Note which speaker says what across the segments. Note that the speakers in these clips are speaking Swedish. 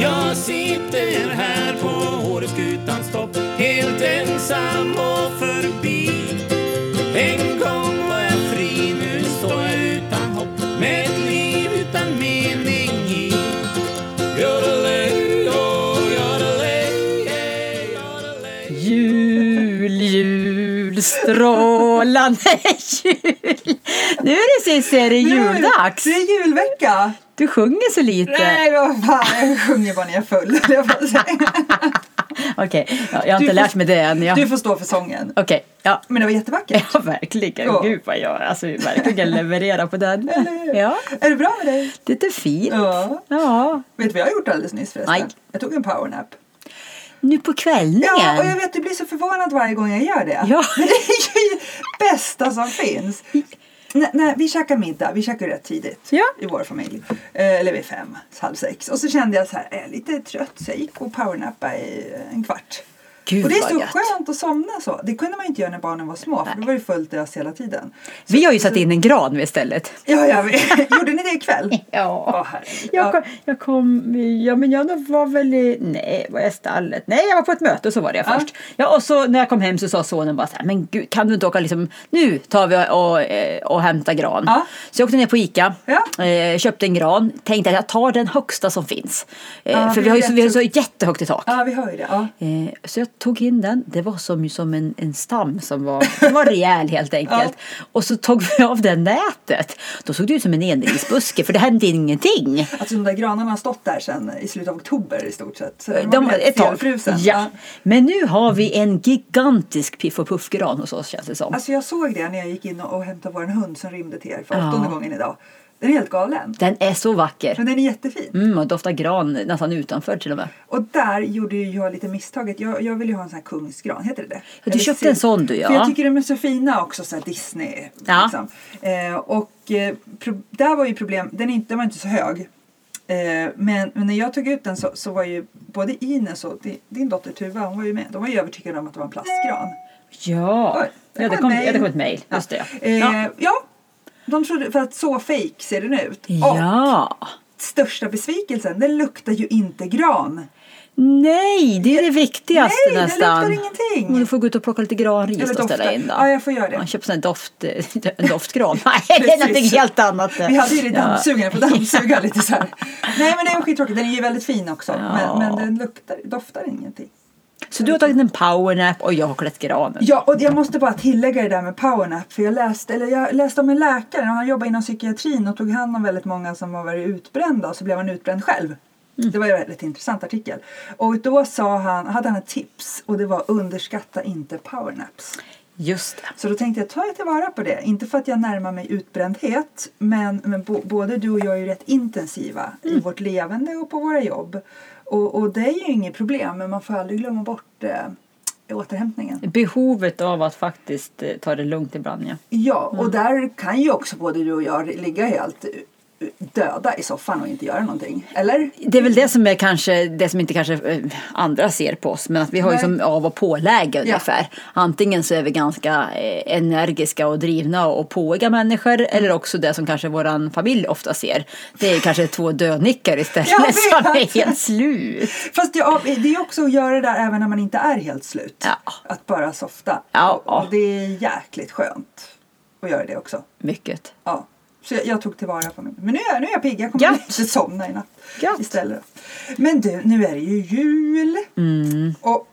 Speaker 1: Jag sitter här på Åreskutans topp Helt ensam och förbi En gång var jag fri, nu står jag utan hopp Med ett liv utan mening i Yodelay, oh, yodelay, yeah, yodelay
Speaker 2: Jul, jul, strålande jul. Nu är det Cissi, är det juldags.
Speaker 3: Det är julvecka!
Speaker 2: Du sjunger så lite.
Speaker 3: Nej, vad fan, jag sjunger bara när jag är full. höll jag på att säga.
Speaker 2: Okej, ja, jag har inte
Speaker 3: Du får-
Speaker 2: lärt mig det än. Ja.
Speaker 3: Du
Speaker 2: Okej,
Speaker 3: får stå för sången.
Speaker 2: ja.
Speaker 3: Men det var jättevackert.
Speaker 2: ja, verkligen.
Speaker 3: Ja.
Speaker 2: Gud vad jag alltså, verkligen levererar på den. Ja,
Speaker 3: Är det bra med dig?
Speaker 2: lite fint.
Speaker 3: Ja.
Speaker 2: Ja,
Speaker 3: Vet du vad jag har gjort alldeles nyss förresten?
Speaker 2: Nej.
Speaker 3: Jag tog en powernap.
Speaker 2: nu på kvällningen.
Speaker 3: Ja, och jag vet, du blir så förvånad varje gång jag gör det.
Speaker 2: Ja.
Speaker 3: Men det är ju det bästa som finns. Nej, nej, vi käkar middag, vi käkar rätt tidigt
Speaker 2: Ja.
Speaker 3: i vår familj. Eh, eller vid fem, halv sex. Och så kände jag så här, jag är lite trött så jag gick och powernappade i en kvart.
Speaker 2: Gud,
Speaker 3: och det är
Speaker 2: vad
Speaker 3: så
Speaker 2: gött.
Speaker 3: skönt att somna så. Det kunde man ju inte göra när barnen var små för då var det fullt ös hela tiden.
Speaker 2: Vi har ju satt in en gran istället.
Speaker 3: Ja, jag vet. Gjorde ni det ikväll?
Speaker 2: Ja.
Speaker 3: Åh, herregud.
Speaker 2: Jag kom, jag kom, ja men jag var väl i, nej var jag i stallet? Nej jag var på ett möte och så var det jag
Speaker 3: Ja.
Speaker 2: först. Ja och så när jag kom hem så sa sonen bara så här, men gud kan du inte åka liksom, nu tar vi och, eh, och hämtar gran.
Speaker 3: Ja.
Speaker 2: Så jag åkte ner på Ica,
Speaker 3: Ja.
Speaker 2: eh, köpte en gran, tänkte att jag tar den högsta som finns. Eh,
Speaker 3: Ja,
Speaker 2: för
Speaker 3: det
Speaker 2: vi
Speaker 3: är
Speaker 2: har ju så, vi har ju så
Speaker 3: jätte-
Speaker 2: jättehögt i tak.
Speaker 3: Ja, vi hör ju det. Ja.
Speaker 2: Eh, Så jag tog in den. Det var som, som en, en stam som var, den var rejäl helt enkelt. Och så tog vi av det nätet. Då såg det ut som en enringsbuske för det hände ingenting.
Speaker 3: Alltså de där granarna har stått där sedan i slutet av oktober i stort sett. Så
Speaker 2: De, ett tag.
Speaker 3: frusen.
Speaker 2: Ja. Men nu har vi en gigantisk Piff och Puff-gran hos oss känns det som.
Speaker 3: Alltså jag såg det när jag gick in och, och hämtade vår hund som rymde till er för
Speaker 2: Ja.
Speaker 3: åttonde gången idag. Den är helt galen.
Speaker 2: Den är så vacker.
Speaker 3: Men den är jättefin.
Speaker 2: Mm, och doftar gran nästan utanför till och med.
Speaker 3: Och där gjorde ju jag lite misstaget. Jag, jag ville ju ha en sån här kungsgran, heter det det?
Speaker 2: du
Speaker 3: Eller
Speaker 2: köpte
Speaker 3: sil-
Speaker 2: en sån du, ja.
Speaker 3: För jag tycker de är så fina också, så här Disney.
Speaker 2: Ja.
Speaker 3: Liksom. Eh, och eh, pro- där var ju problem, den, är inte, den var inte så hög. Eh, men, men när jag tog ut den så, så var ju både Ines och din, din dotter Tuva, hon var ju med, de var ju övertygade om att det var en plastgran.
Speaker 2: Ja,
Speaker 3: Oj,
Speaker 2: ja det
Speaker 3: ett
Speaker 2: kom,
Speaker 3: mejl.
Speaker 2: ja, det kom ett mejl. Just det.
Speaker 3: Eh,
Speaker 2: Ja.
Speaker 3: ja. de trodde, för att så fake ser den ut. Eh, Och
Speaker 2: ja.
Speaker 3: största besvikelsen, den luktar ju inte gran.
Speaker 2: Nej, det är det viktigaste
Speaker 3: Nej, det
Speaker 2: nästan.
Speaker 3: luktar ingenting.
Speaker 2: Men Du får gå ut och plocka lite granris
Speaker 3: Eller
Speaker 2: och ställa
Speaker 3: doftar.
Speaker 2: in då.
Speaker 3: Ja, jag får göra det.
Speaker 2: Ja, köp sån här doft, en doftgran. Nej, det är någonting
Speaker 3: Precis.
Speaker 2: helt annat.
Speaker 3: Vi hade ju det i dammsugaren, för dammsuga lite så här. Nej men det är skittråkigt, den är ju väldigt fin också.
Speaker 2: Ja.
Speaker 3: Men, men den luktar, doftar ingenting.
Speaker 2: Så du har tagit en powernap och jag har klätt granen.
Speaker 3: Ja, och jag måste bara tillägga det där med powernap. För jag läste, eller jag läste om en läkare, han jobbade inom psykiatrin och tog hand om väldigt många som var väldigt utbrända och så blev han utbränd själv. Det var ju en väldigt intressant artikel. Och då sa han, hade han ett tips och det var underskatta inte powernaps.
Speaker 2: Just det.
Speaker 3: Så då tänkte jag, ta jag tillvara på det? Inte för att jag närmar mig utbrändhet, men, men bo, både du och jag är ju rätt intensiva
Speaker 2: Mm.
Speaker 3: i vårt levande och på våra jobb. Och, och det är ju inget problem, men man får aldrig glömma bort eh, återhämtningen.
Speaker 2: Behovet av att faktiskt eh, ta det lugnt ibland ja.
Speaker 3: Ja,
Speaker 2: Mm.
Speaker 3: och där kan ju också både du och jag ligga helt eh, döda i soffan och inte göra någonting. Eller?
Speaker 2: Det är väl det som är kanske, det som inte kanske eh, andra ser på oss, men att vi har ju
Speaker 3: Nej.
Speaker 2: som av och påläge ungefär. Antingen så är vi ganska eh, energiska och drivna och påiga människor,
Speaker 3: Mm.
Speaker 2: eller också det som kanske våran familj ofta ser. Det är kanske två dönickar istället
Speaker 3: Jag vet.
Speaker 2: som är helt slut.
Speaker 3: Fast ja, det är också att göra det där även när man inte är helt slut.
Speaker 2: Ja.
Speaker 3: Att bara softa.
Speaker 2: Ja.
Speaker 3: Och, och det är jäkligt skönt att göra det också.
Speaker 2: Mycket.
Speaker 3: Ja. Så jag, jag tog tillvara på min. Men nu är, nu är jag pigg. Jag kommer
Speaker 2: Gött.
Speaker 3: inte somna i natt
Speaker 2: Gött.
Speaker 3: istället. Men du, nu är det ju jul.
Speaker 2: Mm.
Speaker 3: Och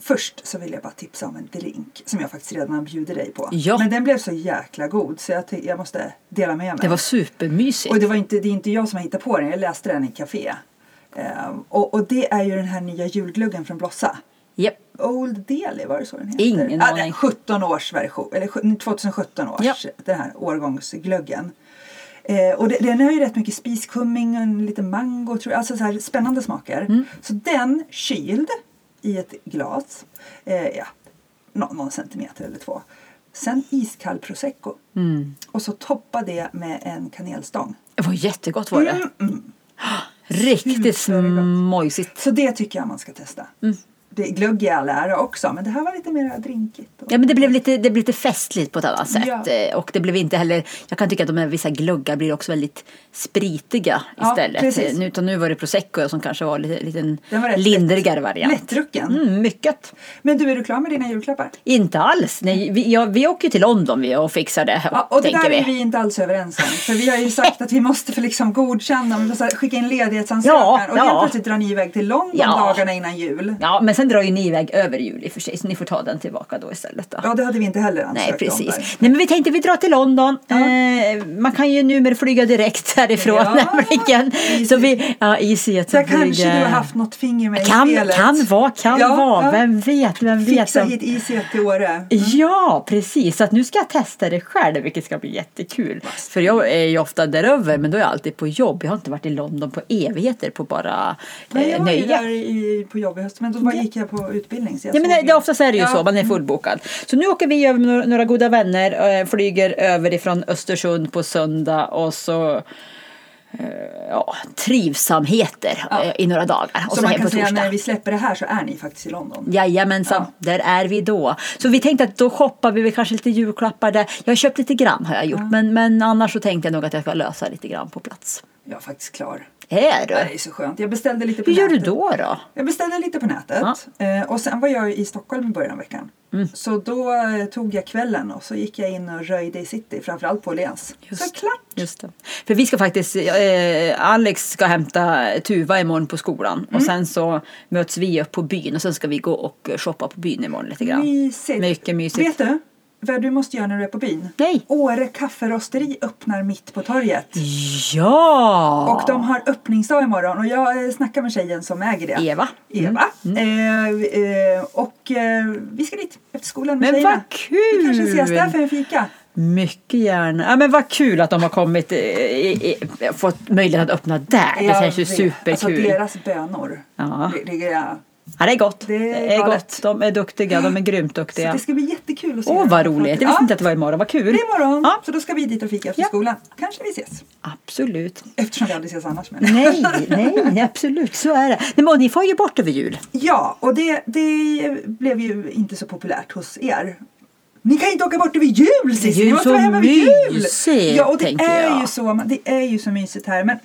Speaker 3: först så vill jag bara tipsa om en drink som jag faktiskt redan bjuder dig på.
Speaker 2: Ja.
Speaker 3: Men den blev så jäkla god så jag, ty- jag måste dela med mig.
Speaker 2: Det var supermysigt.
Speaker 3: Och det, var inte, det är inte jag som har hittat på den. Jag läste den i café. Ehm, och, och det är ju den här nya julgluggen från Blossa.
Speaker 2: Japp.
Speaker 3: Old Delhi, var det så den heter?
Speaker 2: Ingen
Speaker 3: ja, det är
Speaker 2: aning.
Speaker 3: 17 års version, eller sju- 2017 års,
Speaker 2: Ja.
Speaker 3: den här årgångsglöggen. Eh, och det, den har ju rätt mycket spiskumming och en liten mango, tror jag. alltså så här spännande smaker.
Speaker 2: Mm.
Speaker 3: Så den kyld i ett glas, eh, ja, nå- någon centimeter eller två. Sen iskall prosecco.
Speaker 2: Mm.
Speaker 3: Och så toppa det med en kanelstång.
Speaker 2: Det var jättegott var det.
Speaker 3: Mm, mm.
Speaker 2: Riktigt
Speaker 3: Supergott.
Speaker 2: mojsigt. Mm.
Speaker 3: Så det tycker jag man ska testa. det, glögg i all ära också, men det här var lite mer drinkigt.
Speaker 2: Ja, men det blev, lite, det blev lite festligt på ett annat sätt.
Speaker 3: Ja.
Speaker 2: Eh, Och det blev inte heller, jag kan tycka att de här vissa gluggar blir också väldigt spritiga
Speaker 3: Ja,
Speaker 2: istället.
Speaker 3: precis.
Speaker 2: Eh, nu, utan nu var det prosecco som kanske var lite liten
Speaker 3: Den var rätt
Speaker 2: lindrigare
Speaker 3: lätt-
Speaker 2: variant.
Speaker 3: Lättdrucken.
Speaker 2: Mm, mycket.
Speaker 3: Men du, är du klar med dina julklappar?
Speaker 2: Inte alls. Nej, vi, ja, vi åker ju till London vi och fixar det.
Speaker 3: Ja, och det
Speaker 2: tänker
Speaker 3: där
Speaker 2: vi.
Speaker 3: är vi inte alls överens om. För vi har ju sagt att vi måste för liksom godkänna, men så här, skicka in ledighetsansökan.
Speaker 2: Ja,
Speaker 3: och
Speaker 2: ja.
Speaker 3: helt plötsligt drar ni iväg till London
Speaker 2: Ja.
Speaker 3: dagarna innan jul.
Speaker 2: Ja, men sen drar ju ni iväg över jul i och för sig, så ni får ta den tillbaka då istället. Då.
Speaker 3: Ja, det hade vi inte heller ansökt
Speaker 2: Nej,
Speaker 3: om. där.
Speaker 2: precis. Nej, men vi tänkte vi drar till London. Eh, man kan ju numera flyga direkt härifrån
Speaker 3: Ja,
Speaker 2: nämligen. Så vi, ja, easy jet
Speaker 3: Så
Speaker 2: som
Speaker 3: jag kanske
Speaker 2: flyger.
Speaker 3: du har haft något finger med i
Speaker 2: Kan,
Speaker 3: spelet.
Speaker 2: kan vara, kan
Speaker 3: Ja,
Speaker 2: vara.
Speaker 3: ja.
Speaker 2: Vem vet, vem vet.
Speaker 3: Fixa
Speaker 2: om-
Speaker 3: hit IC till Åre.
Speaker 2: Ja, precis. Så att nu ska jag testa det själv, vilket ska bli jättekul. För jag är ju ofta däröver, men då är jag alltid på jobb. Jag har inte varit i London på evigheter på bara
Speaker 3: Nej, jag
Speaker 2: eh,
Speaker 3: var ju
Speaker 2: nöje.
Speaker 3: där i, på jobb i höst, men då bara gick jag på utbildning. Så jag
Speaker 2: Ja, men
Speaker 3: såg
Speaker 2: det,
Speaker 3: ju-
Speaker 2: det oftast är det ju
Speaker 3: Ja. Mm.
Speaker 2: så, man är fullbokad. Så nu åker vi över med några, några goda vänner, eh, flyger över ifrån Östersund på söndag och så eh, ja, trivsamheter
Speaker 3: Ja.
Speaker 2: eh, i några dagar. Och
Speaker 3: Så
Speaker 2: så
Speaker 3: man
Speaker 2: hem
Speaker 3: kan
Speaker 2: på
Speaker 3: säga
Speaker 2: torsdag.
Speaker 3: när vi släpper det här så är ni faktiskt i London.
Speaker 2: Jajamensan, där är vi då. Så vi tänkte att då shoppar vi väl kanske lite julklappar där. Jag har köpt lite grann har jag gjort, men, men annars så tänkte jag nog att jag ska lösa lite grann på plats.
Speaker 3: Jag är faktiskt klar.
Speaker 2: Är du?
Speaker 3: Det här är så skönt. Jag beställde lite på
Speaker 2: Hur gör
Speaker 3: nätet.
Speaker 2: du då då?
Speaker 3: Jag beställde lite på nätet Eh, och sen var jag i Stockholm i början av veckan.
Speaker 2: Mm.
Speaker 3: Så då eh, tog jag kvällen och så gick jag in och röjde i city, framförallt på Åhléns. Såklart!
Speaker 2: Just det. För vi ska faktiskt, eh, Alex ska hämta Tuva imorgon på skolan
Speaker 3: Mm.
Speaker 2: och sen så möts vi upp på byn och sen ska vi gå och shoppa på byn imorgon lite grann.
Speaker 3: Mysigt!
Speaker 2: Mycket mysigt.
Speaker 3: Vet du vad du måste göra när du är på byn?
Speaker 2: Nej.
Speaker 3: Åre kafferosteri öppnar mitt på torget.
Speaker 2: Ja!
Speaker 3: Och de har öppningsdag imorgon och jag eh, snackar med tjejen som äger det.
Speaker 2: Eva. Mm.
Speaker 3: Eva. Eh, eh, och eh, vi ska dit efter skolan med
Speaker 2: Men
Speaker 3: tjejerna.
Speaker 2: vad kul!
Speaker 3: Vi kanske ses där för en fika.
Speaker 2: Mycket gärna. Ja, men vad kul att de har kommit, eh, i- i- fått möjlighet att öppna där. Äh, Det
Speaker 3: Jag
Speaker 2: känns ju
Speaker 3: vet.
Speaker 2: superkul.
Speaker 3: Alltså deras bönor.
Speaker 2: Ja.
Speaker 3: Det, det, är- alltså,
Speaker 2: Ja, det är gott.
Speaker 3: Det är galet.
Speaker 2: gott. De är duktiga. De är grymt
Speaker 3: så
Speaker 2: duktiga.
Speaker 3: det ska bli jättekul att se.
Speaker 2: Åh,
Speaker 3: dem.
Speaker 2: vad roligt. Jag visste
Speaker 3: Ja,
Speaker 2: inte att det var imorgon. Vad kul.
Speaker 3: det är imorgon.
Speaker 2: Ja.
Speaker 3: Så då ska vi dit och fika efter
Speaker 2: Ja.
Speaker 3: skolan. Kanske vi ses.
Speaker 2: Absolut.
Speaker 3: Eftersom vi aldrig ses annars. Men.
Speaker 2: Nej, nej, absolut. Så är det. Nej, men och ni får ju bort över jul.
Speaker 3: Ja, och det, det blev ju inte så populärt hos er. Ni kan ju inte åka bort över jul Cissi!
Speaker 2: ju
Speaker 3: Ni måste
Speaker 2: så
Speaker 3: vara hemma vid jul!
Speaker 2: mysigt,
Speaker 3: Ja, och det
Speaker 2: tänker
Speaker 3: är,
Speaker 2: jag.
Speaker 3: ju så, men det är ju så mysigt här. Men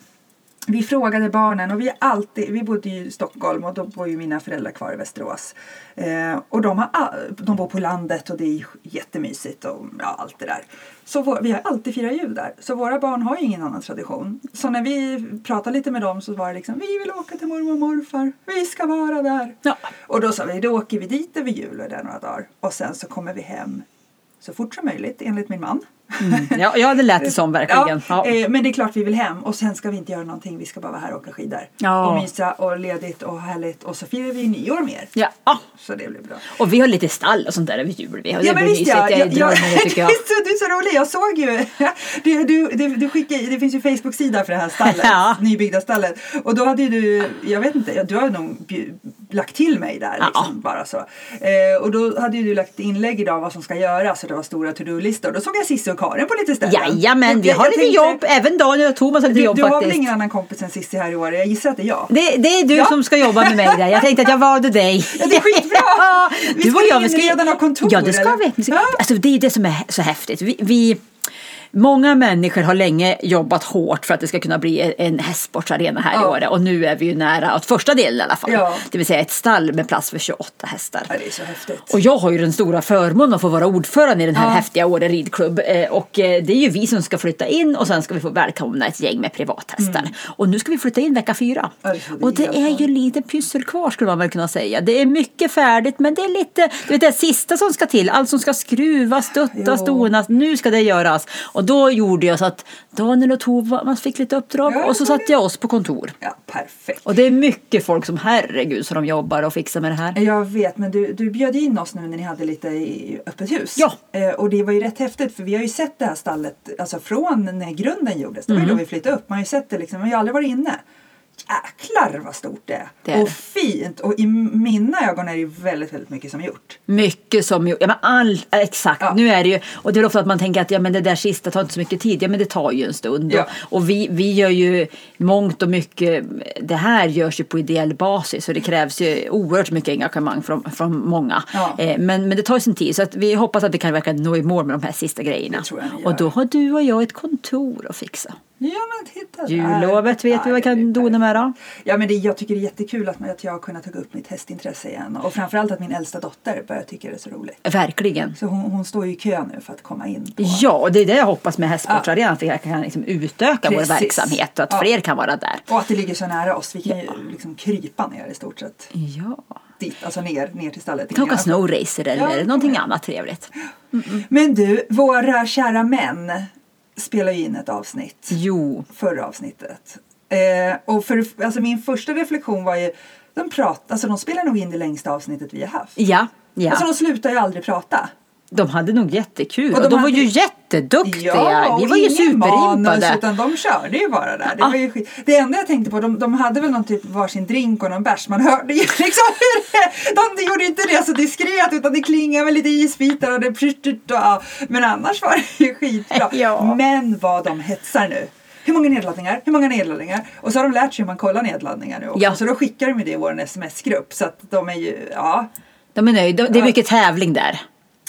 Speaker 3: vi frågade barnen och vi, har alltid, vi bodde ju i Stockholm och då bor ju mina föräldrar kvar i Västerås. Eh, och de, har, all- de bor på landet och det är jättemysigt och ja, allt det där. Så vår, vi har alltid firat jul där. Så våra barn har ju ingen annan tradition. Så när vi pratade lite med dem så var det liksom vi vill åka till mormor och morfar. Vi ska vara där.
Speaker 2: Ja.
Speaker 3: Och då sa vi då åker vi dit över jul och där några dagar. Och sen så kommer vi hem så fort som möjligt enligt min man.
Speaker 2: Ja, ja det lät det som verkligen. Ja,
Speaker 3: Ja, eh, men det är klart vi vill hem och sen ska vi inte göra någonting. Vi ska bara vara här och åka skidor.
Speaker 2: Ja.
Speaker 3: Och mysa och ledigt och härligt. Och så firar vi ju nyår med er.
Speaker 2: ja. ja.
Speaker 3: Så det blir bra.
Speaker 2: Och vi har lite stall och sånt där över jul. Vi har det blir mysigt.
Speaker 3: ja.
Speaker 2: Jag, jag,
Speaker 3: ja,
Speaker 2: drömmer, tycker jag.
Speaker 3: det är så, du är så rolig. Jag såg ju. Du, du, du, du skickade, det finns ju Facebook-sida för det här stallet.
Speaker 2: Ja.
Speaker 3: Nybyggda stallet. Och då hade ju du, jag vet inte, ja, du har nog bju- lagt till mig där.
Speaker 2: Ja.
Speaker 3: Liksom, bara så. Eh, och då hade ju du lagt inlägg idag vad som ska göras. Och det var stora to-do-listor. Då såg jag Cissi och Karin på lite ställen.
Speaker 2: Jajamän, vi
Speaker 3: Jag-
Speaker 2: har
Speaker 3: jag
Speaker 2: lite
Speaker 3: tänkte-
Speaker 2: jobb. Även Daniel och Thomas har lite
Speaker 3: Du,
Speaker 2: jobb
Speaker 3: du har väl
Speaker 2: faktiskt.
Speaker 3: ingen annan kompis än Cissi här i år? Jag gissar att det är jag.
Speaker 2: Det, det är du
Speaker 3: Ja.
Speaker 2: som ska jobba med mig där. Jag tänkte att jag valde dig.
Speaker 3: Ja, det är skitbra.
Speaker 2: Ja,
Speaker 3: Vi
Speaker 2: du
Speaker 3: ska
Speaker 2: och jag, vi
Speaker 3: inreda några kontor,
Speaker 2: Ja, det ska
Speaker 3: eller?
Speaker 2: vi. vi. Ska,
Speaker 3: Ja.
Speaker 2: alltså, det är ju det som är så häftigt. Vi, vi, många människor har länge jobbat hårt för att det ska kunna bli en hästsportsarena här i
Speaker 3: Ja.
Speaker 2: Åre. Och nu är vi ju nära åt första delen i alla fall.
Speaker 3: Ja.
Speaker 2: Det vill säga ett stall med plats för 28 hästar.
Speaker 3: Ja, det är så häftigt.
Speaker 2: Och jag har ju den stora förmånen att få vara ordförande i den här
Speaker 3: Ja.
Speaker 2: häftiga Åre ridklubb. Eh, Och eh, det är ju vi som ska flytta in och sen ska vi få välkomna ett gäng med privathästar. Och nu ska vi flytta in vecka fyra.
Speaker 3: Mm. Ja, det är så det är
Speaker 2: och det
Speaker 3: helt
Speaker 2: är ju lite pyssel kvar skulle man väl kunna säga. Det är mycket färdigt men det är lite, du vet det sista som ska till. Allt som ska skruvas, stöttas,
Speaker 3: Jo.
Speaker 2: donas. Nu ska det göras. Och då gjorde jag så att Daniel och Tova man fick lite uppdrag
Speaker 3: Ja,
Speaker 2: och så
Speaker 3: det var
Speaker 2: satte jag oss på kontor.
Speaker 3: Ja, perfekt.
Speaker 2: Och det är mycket folk som herregud så de jobbar och fixar med det här.
Speaker 3: Jag vet, men du, du bjöd in oss nu när ni hade lite i öppet hus.
Speaker 2: Ja.
Speaker 3: Eh, och det var ju rätt häftigt för vi har ju sett det
Speaker 2: Mm.
Speaker 3: här stallet alltså från när grunden gjordes. Det var ju då vi flyttade upp. Man har ju sett det liksom, man har ju aldrig varit inne. jäklar vad stort det är.
Speaker 2: Det är
Speaker 3: och
Speaker 2: det.
Speaker 3: fint. Och i mina ögon är det väldigt, väldigt mycket som är gjort.
Speaker 2: Mycket som ju- ja, men all, exakt,
Speaker 3: Ja.
Speaker 2: nu är det ju, och det är väl ofta att man tänker att ja, men det där sista tar inte så mycket tid, ja men det tar ju en stund.
Speaker 3: Ja.
Speaker 2: Och, och vi, vi gör ju mångt och mycket, det här görs ju på ideell basis och det krävs ju oerhört mycket engagemang från, från många.
Speaker 3: Ja.
Speaker 2: Eh, men, men det tar ju sin tid så att vi hoppas att vi kan verkligen nå i mål med de här sista grejerna.
Speaker 3: Det tror jag ni gör.
Speaker 2: Och då har du och jag ett kontor att fixa.
Speaker 3: Ja men titta där.
Speaker 2: Jullovet vet vi
Speaker 3: Ja,
Speaker 2: vad vi
Speaker 3: det är
Speaker 2: kan dona med då.
Speaker 3: Ja, men det, jag tycker det är jättekul att, man- att jag har kunnat ta upp mitt hästintresse igen. Och framförallt att min äldsta dotter börjar tycka det är så roligt.
Speaker 2: Verkligen.
Speaker 3: Så hon, hon står ju i kö nu för att komma in på.
Speaker 2: Ja, och det är det jag hoppas med Hästsportarenan, att vi kan liksom utöka vår
Speaker 3: Precis.
Speaker 2: verksamhet och att
Speaker 3: Ja.
Speaker 2: fler kan vara där.
Speaker 3: Och att det ligger så nära oss. Vi kan ju liksom krypa ner i stort sett.
Speaker 2: Ja.
Speaker 3: Dit, alltså ner, ner till stallet.
Speaker 2: Vi kan åka snowracer eller
Speaker 3: Ja.
Speaker 2: någonting annat trevligt.
Speaker 3: Men du, våra kära män spelar ju in ett avsnitt.
Speaker 2: Jo,
Speaker 3: Förra avsnittet. Eh, och för, alltså min första reflektion var ju de, prat, alltså de spelar nog in det längsta avsnittet vi har haft.
Speaker 2: ja, ja.
Speaker 3: Alltså de slutar ju aldrig prata.
Speaker 2: de hade nog jättekul och
Speaker 3: Och
Speaker 2: de,
Speaker 3: de
Speaker 2: var
Speaker 3: hade-
Speaker 2: ju jätteduktiga.
Speaker 3: Ja,
Speaker 2: Vi
Speaker 3: och
Speaker 2: var ju Ah.
Speaker 3: ingen
Speaker 2: superimpade.
Speaker 3: Manus, utan de körde ju bara där. Det, var ju skit. det enda jag tänkte på, de, de hade väl någon typ varsin drink och någon bärs. Man hörde ju liksom hur det, De gjorde inte det så diskret utan det klingade väl lite isbitar och det prytt och ja. Men annars var det ju skitbra.
Speaker 2: Ja.
Speaker 3: Men vad de hetsar nu. Hur många nedladdningar? Hur många nedladdningar? Och så har de lärt sig hur man kollar nedladdningar nu också.
Speaker 2: Ja.
Speaker 3: Så då skickar de ju det i vår sms-grupp. Så att de är ju, ja.
Speaker 2: De är nöjda. Det är
Speaker 3: Ja.
Speaker 2: mycket tävling där.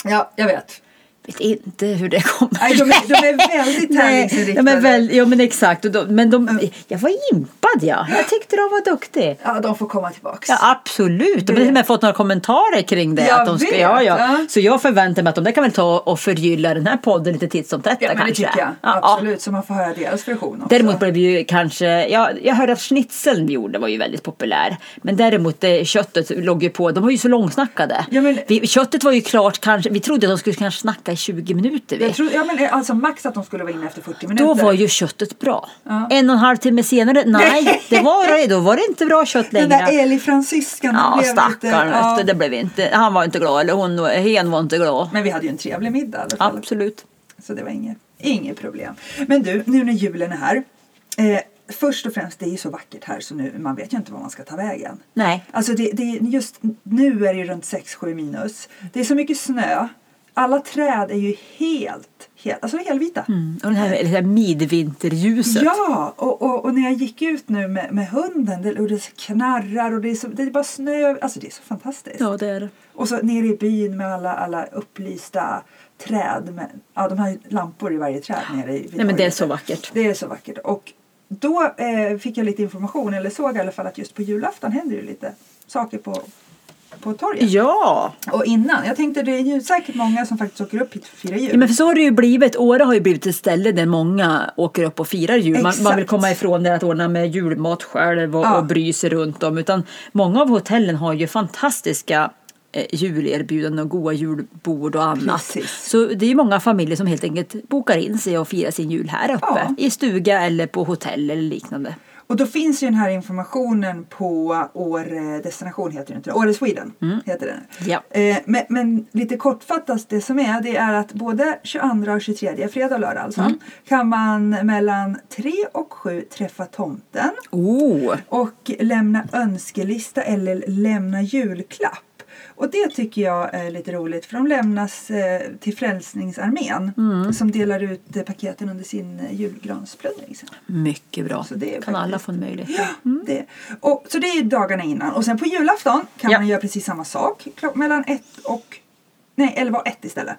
Speaker 3: Ja, jag vet.
Speaker 2: vet inte hur det kommer.
Speaker 3: Nej, de är- de är
Speaker 2: Nej,
Speaker 3: väldigt
Speaker 2: de
Speaker 3: tävlingsinriktade.
Speaker 2: är väl, Ja men exakt. Och de, men de, jag var impad ja. Jag tyckte de var duktiga.
Speaker 3: Ja, de får komma tillbaks.
Speaker 2: Ja absolut. De har till och med fått några kommentarer kring det.
Speaker 3: Jag
Speaker 2: att de ska,
Speaker 3: vet,
Speaker 2: ja, ja.
Speaker 3: ja.
Speaker 2: Så jag förväntar mig att de där kan väl ta och förgylla den här podden lite titt som tätt
Speaker 3: Ja, men det
Speaker 2: kanske.
Speaker 3: tycker jag.
Speaker 2: Ja, ja.
Speaker 3: Absolut, så man får höra deras version också.
Speaker 2: Däremot blev ju kanske, ja, jag hörde att schnitzeln vi gjorde var ju väldigt populär. Men däremot eh, köttet låg ju på, de var ju så långsnackade.
Speaker 3: Ja, men-
Speaker 2: vi, köttet var ju klart kanske, vi trodde att de skulle kanske snacka i 20 minuter. Vi.
Speaker 3: jag tror, ja, men alltså max att de skulle vara inne efter 40 minuter.
Speaker 2: Då var ju köttet bra.
Speaker 3: Ja.
Speaker 2: En och en halv timme senare, nej, det var det. Då var det inte bra kött
Speaker 3: Den
Speaker 2: längre.
Speaker 3: där Eli fransyskan, den
Speaker 2: Ja,
Speaker 3: blev lite...
Speaker 2: stackarn.
Speaker 3: ja.
Speaker 2: vet du, Det blev inte, han var inte glad, eller hon, hen var inte glad.
Speaker 3: Men vi hade ju en trevlig middag i alla fall.
Speaker 2: Absolut.
Speaker 3: Så det var inget, inget problem. Men du, nu när julen är här. Eh, först och främst, det är ju så vackert här så nu, man vet ju inte var man ska ta vägen.
Speaker 2: Nej.
Speaker 3: Alltså det, det, just nu är det ju runt 6-7 minus. Det är så mycket snö. Alla träd är ju helt, helt alltså helvita.
Speaker 2: Mm. Och det här, det här midvinterljuset.
Speaker 3: Ja, och, och, och när jag gick ut nu med, med hunden det, och det så knarrar och det är, så, det är bara snö. Alltså det är så fantastiskt.
Speaker 2: ja, det är det.
Speaker 3: Och så nere i byn med alla, alla upplysta träd. Med, ja, de har ju lampor i varje träd nere i vid
Speaker 2: Nej, men det är
Speaker 3: torget.
Speaker 2: så vackert.
Speaker 3: Det är så vackert. Och då eh, fick jag lite information, eller såg i alla fall att just på julafton händer ju lite saker på, på torget.
Speaker 2: Ja.
Speaker 3: Och innan, jag tänkte det är ju säkert många som faktiskt åker upp hit för att fira jul.
Speaker 2: Ja, men för så har det ju blivit. Åre har ju blivit ett ställe där många åker upp och firar jul. Man, man
Speaker 3: Exakt.
Speaker 2: vill komma ifrån det att ordna med julmat själv och,
Speaker 3: Ja.
Speaker 2: och bry sig runt om. Utan många av hotellen har ju fantastiska eh, julerbjudanden och goda julbord och annat.
Speaker 3: Precis.
Speaker 2: Så det är ju många familjer som helt enkelt bokar in sig och firar sin jul här uppe.
Speaker 3: Ja.
Speaker 2: I stuga eller på hotell eller liknande.
Speaker 3: Och då finns ju den här informationen på Åre destination heter det inte, Åre Sweden heter det.
Speaker 2: Ja.
Speaker 3: Eh, men, men lite kortfattat det som är, det är att både 22 och 23, fredag och lördag alltså, kan man mellan 3 och 7 träffa tomten
Speaker 2: Oh,
Speaker 3: och lämna önskelista eller lämna julklapp. Och det tycker jag är lite roligt för de lämnas eh, till Frälsningsarmén som delar ut eh, paketen under sin eh, julgransplundring sen.
Speaker 2: mycket bra.
Speaker 3: Så det är
Speaker 2: kan
Speaker 3: faktiskt-
Speaker 2: alla få en möjlighet.
Speaker 3: Ja, det. Och, så det är ju dagarna innan. Och sen på julafton kan
Speaker 2: Ja.
Speaker 3: man göra precis samma sak. Klock, mellan ett och... Nej, 11 och ett istället.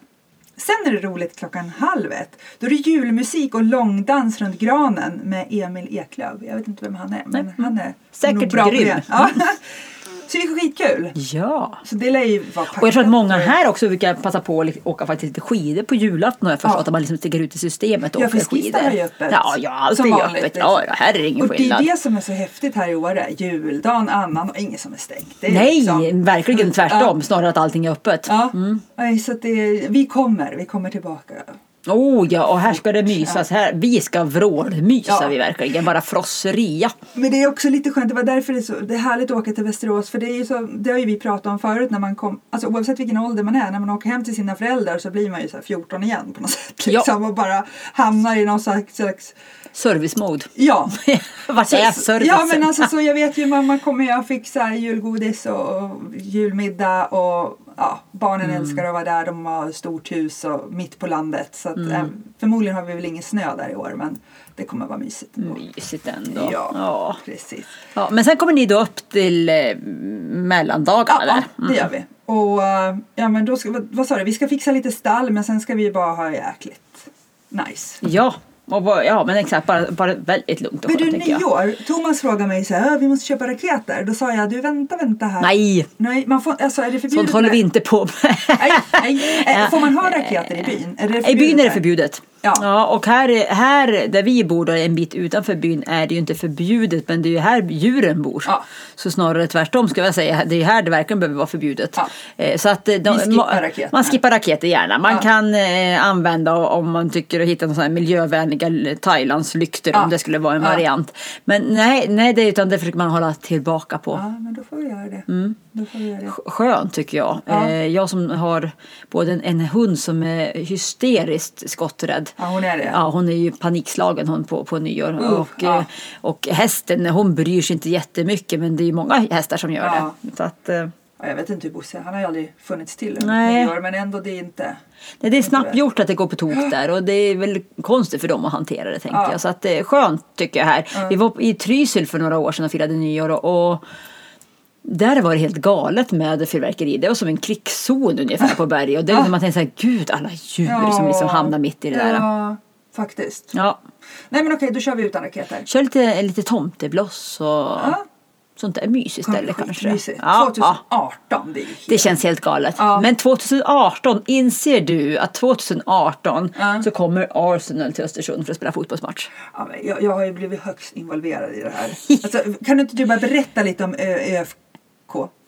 Speaker 3: Sen är det roligt klockan halv ett. Då är det julmusik och långdans runt granen med Emil Eklöf. Jag vet inte vem han är, men
Speaker 2: Nej.
Speaker 3: han är
Speaker 2: Säkert
Speaker 3: nog bra på
Speaker 2: grym.
Speaker 3: det. Ja. Så det är skitkul.
Speaker 2: Ja.
Speaker 3: Så det lär ju vara
Speaker 2: Och jag tror
Speaker 3: packat.
Speaker 2: att många här också brukar passa på att li- åka faktiskt lite skidor på julafton har jag förstått.
Speaker 3: Ja.
Speaker 2: Att man liksom sticker ut i systemet och
Speaker 3: Ja,
Speaker 2: åker
Speaker 3: för
Speaker 2: skidor.
Speaker 3: skistan är ju öppet.
Speaker 2: Ja, ja, allt är
Speaker 3: Som
Speaker 2: ju
Speaker 3: vanligt,
Speaker 2: öppet.
Speaker 3: liksom.
Speaker 2: Ja, ja, här är det ingen
Speaker 3: Och det
Speaker 2: skillnad.
Speaker 3: är det som är så häftigt här i Åre. Juldagen, annan och inget som är stängt. Det är
Speaker 2: Nej,
Speaker 3: liksom-
Speaker 2: verkligen tvärtom.
Speaker 3: Ja.
Speaker 2: Snarare att allting är öppet.
Speaker 3: Ja, nej, så att det, vi kommer, vi kommer tillbaka.
Speaker 2: Oh ja, och här ska det mysas. Här, vi ska vrålmysa
Speaker 3: Ja.
Speaker 2: vi verkligen. Bara frosseria.
Speaker 3: Men det är också lite skönt, det var därför det är, så, det är härligt att åka till Västerås för det, är ju så, det har ju vi pratat om förut när man kom, alltså oavsett vilken ålder man är, när man åker hem till sina föräldrar så blir man ju så här 14 igen på något sätt
Speaker 2: Ja.
Speaker 3: liksom, och bara hamnar i någon slags, slags
Speaker 2: Service mode.
Speaker 3: ja.
Speaker 2: Vart är servicen?
Speaker 3: ja men alltså så jag vet ju mamma kommer jag fixa julgodis och, och julmiddag och ja, barnen
Speaker 2: Mm.
Speaker 3: älskar att vara där, de har stort hus och mitt på landet så
Speaker 2: Mm.
Speaker 3: att, eh, förmodligen har vi väl ingen snö där i år men det kommer vara mysigt. ändå.
Speaker 2: Mysigt ändå.
Speaker 3: Ja,
Speaker 2: Mm. Ja.
Speaker 3: precis.
Speaker 2: Ja, men sen kommer ni då upp till eh, mellandagarna
Speaker 3: Ja,
Speaker 2: där. Mm.
Speaker 3: det gör vi. Och eh, ja, men då ska, vad, vad sa du, vi ska fixa lite stall men sen ska vi bara ha jäkligt nice.
Speaker 2: Ja, och bara, ja men exakt. Bara, bara väldigt lugnt och
Speaker 3: Men du,
Speaker 2: skönt tänker jag.
Speaker 3: nyår, Thomas frågade mig så här, "Äh, vi måste köpa raketer. Då sa jag, du vänta, vänta här.
Speaker 2: Nej,
Speaker 3: Nej, man får, alltså är det förbjudet?
Speaker 2: sånt håller
Speaker 3: med-
Speaker 2: vi inte på med.
Speaker 3: Nej, nej. Eh, Får man ha raketer i byn? Är det
Speaker 2: I byn är det
Speaker 3: här?
Speaker 2: förbjudet.
Speaker 3: Ja.
Speaker 2: och här, här där vi bor, då, en bit utanför byn, är det ju inte förbjudet men det är ju här djuren bor.
Speaker 3: Ja.
Speaker 2: Så snarare tvärtom skulle jag säga. Det är ju här det verkligen behöver vara förbjudet.
Speaker 3: Ja.
Speaker 2: Eh, Så att eh, de,
Speaker 3: Vi skippar
Speaker 2: ma-
Speaker 3: raketerna.
Speaker 2: man skippar raketer gärna. Man
Speaker 3: Ja.
Speaker 2: kan eh, använda om man tycker att hitta någon sån här miljövänliga l- Thailandslyktor
Speaker 3: Ja.
Speaker 2: om det skulle vara en
Speaker 3: Ja.
Speaker 2: variant. Men nej, nej det, utan det försöker man hålla tillbaka på.
Speaker 3: Ja, men då får vi göra det.
Speaker 2: Mm.
Speaker 3: Då får vi göra det.
Speaker 2: Skönt tycker jag.
Speaker 3: Ja.
Speaker 2: Eh, Jag som har både en, en hund som är hysteriskt skotträdd.
Speaker 3: Ja, hon är det.
Speaker 2: Ja, hon är ju panikslagen hon på, på nyår. och,
Speaker 3: ja.
Speaker 2: eh, och hästen, hon bryr sig inte jättemycket men det är ju många hästar som gör
Speaker 3: Ja.
Speaker 2: det. Så att, eh,
Speaker 3: Ja, jag vet inte hur Bosse, han har ju aldrig funnits till
Speaker 2: Nej.
Speaker 3: under nyår, men ändå det är inte.
Speaker 2: nej, det är snabbt gjort att det går på tok där och det är väl konstigt för dem att hantera det tänkte
Speaker 3: Ja.
Speaker 2: jag. Så att det är skönt tycker jag här. Vi var i Trysil för några år sedan och firade nyår och, och där var det helt galet med fyrverkeri. Det var som en krigszon ungefär på berget. Och det är liksom man tänker så här, gud alla djur som liksom hamnar mitt i det där.
Speaker 3: Ja, faktiskt.
Speaker 2: Ja.
Speaker 3: Nej men okej, då kör vi utan raketer.
Speaker 2: Kör lite, lite tomtebloss och
Speaker 3: Ja.
Speaker 2: sånt där mysigt ställe kanske.
Speaker 3: Skitmysigt.
Speaker 2: Ja, ja.
Speaker 3: 2018, det är ju helt...
Speaker 2: Det känns helt galet.
Speaker 3: Ja.
Speaker 2: Men 2018, inser du att 2018
Speaker 3: Ja.
Speaker 2: så kommer Arsenal till Östersund för att spela fotbollsmatch?
Speaker 3: Ja, men jag, jag har ju blivit högst involverad i det här. Alltså, kan du inte du bara berätta lite om Ö- ÖFK?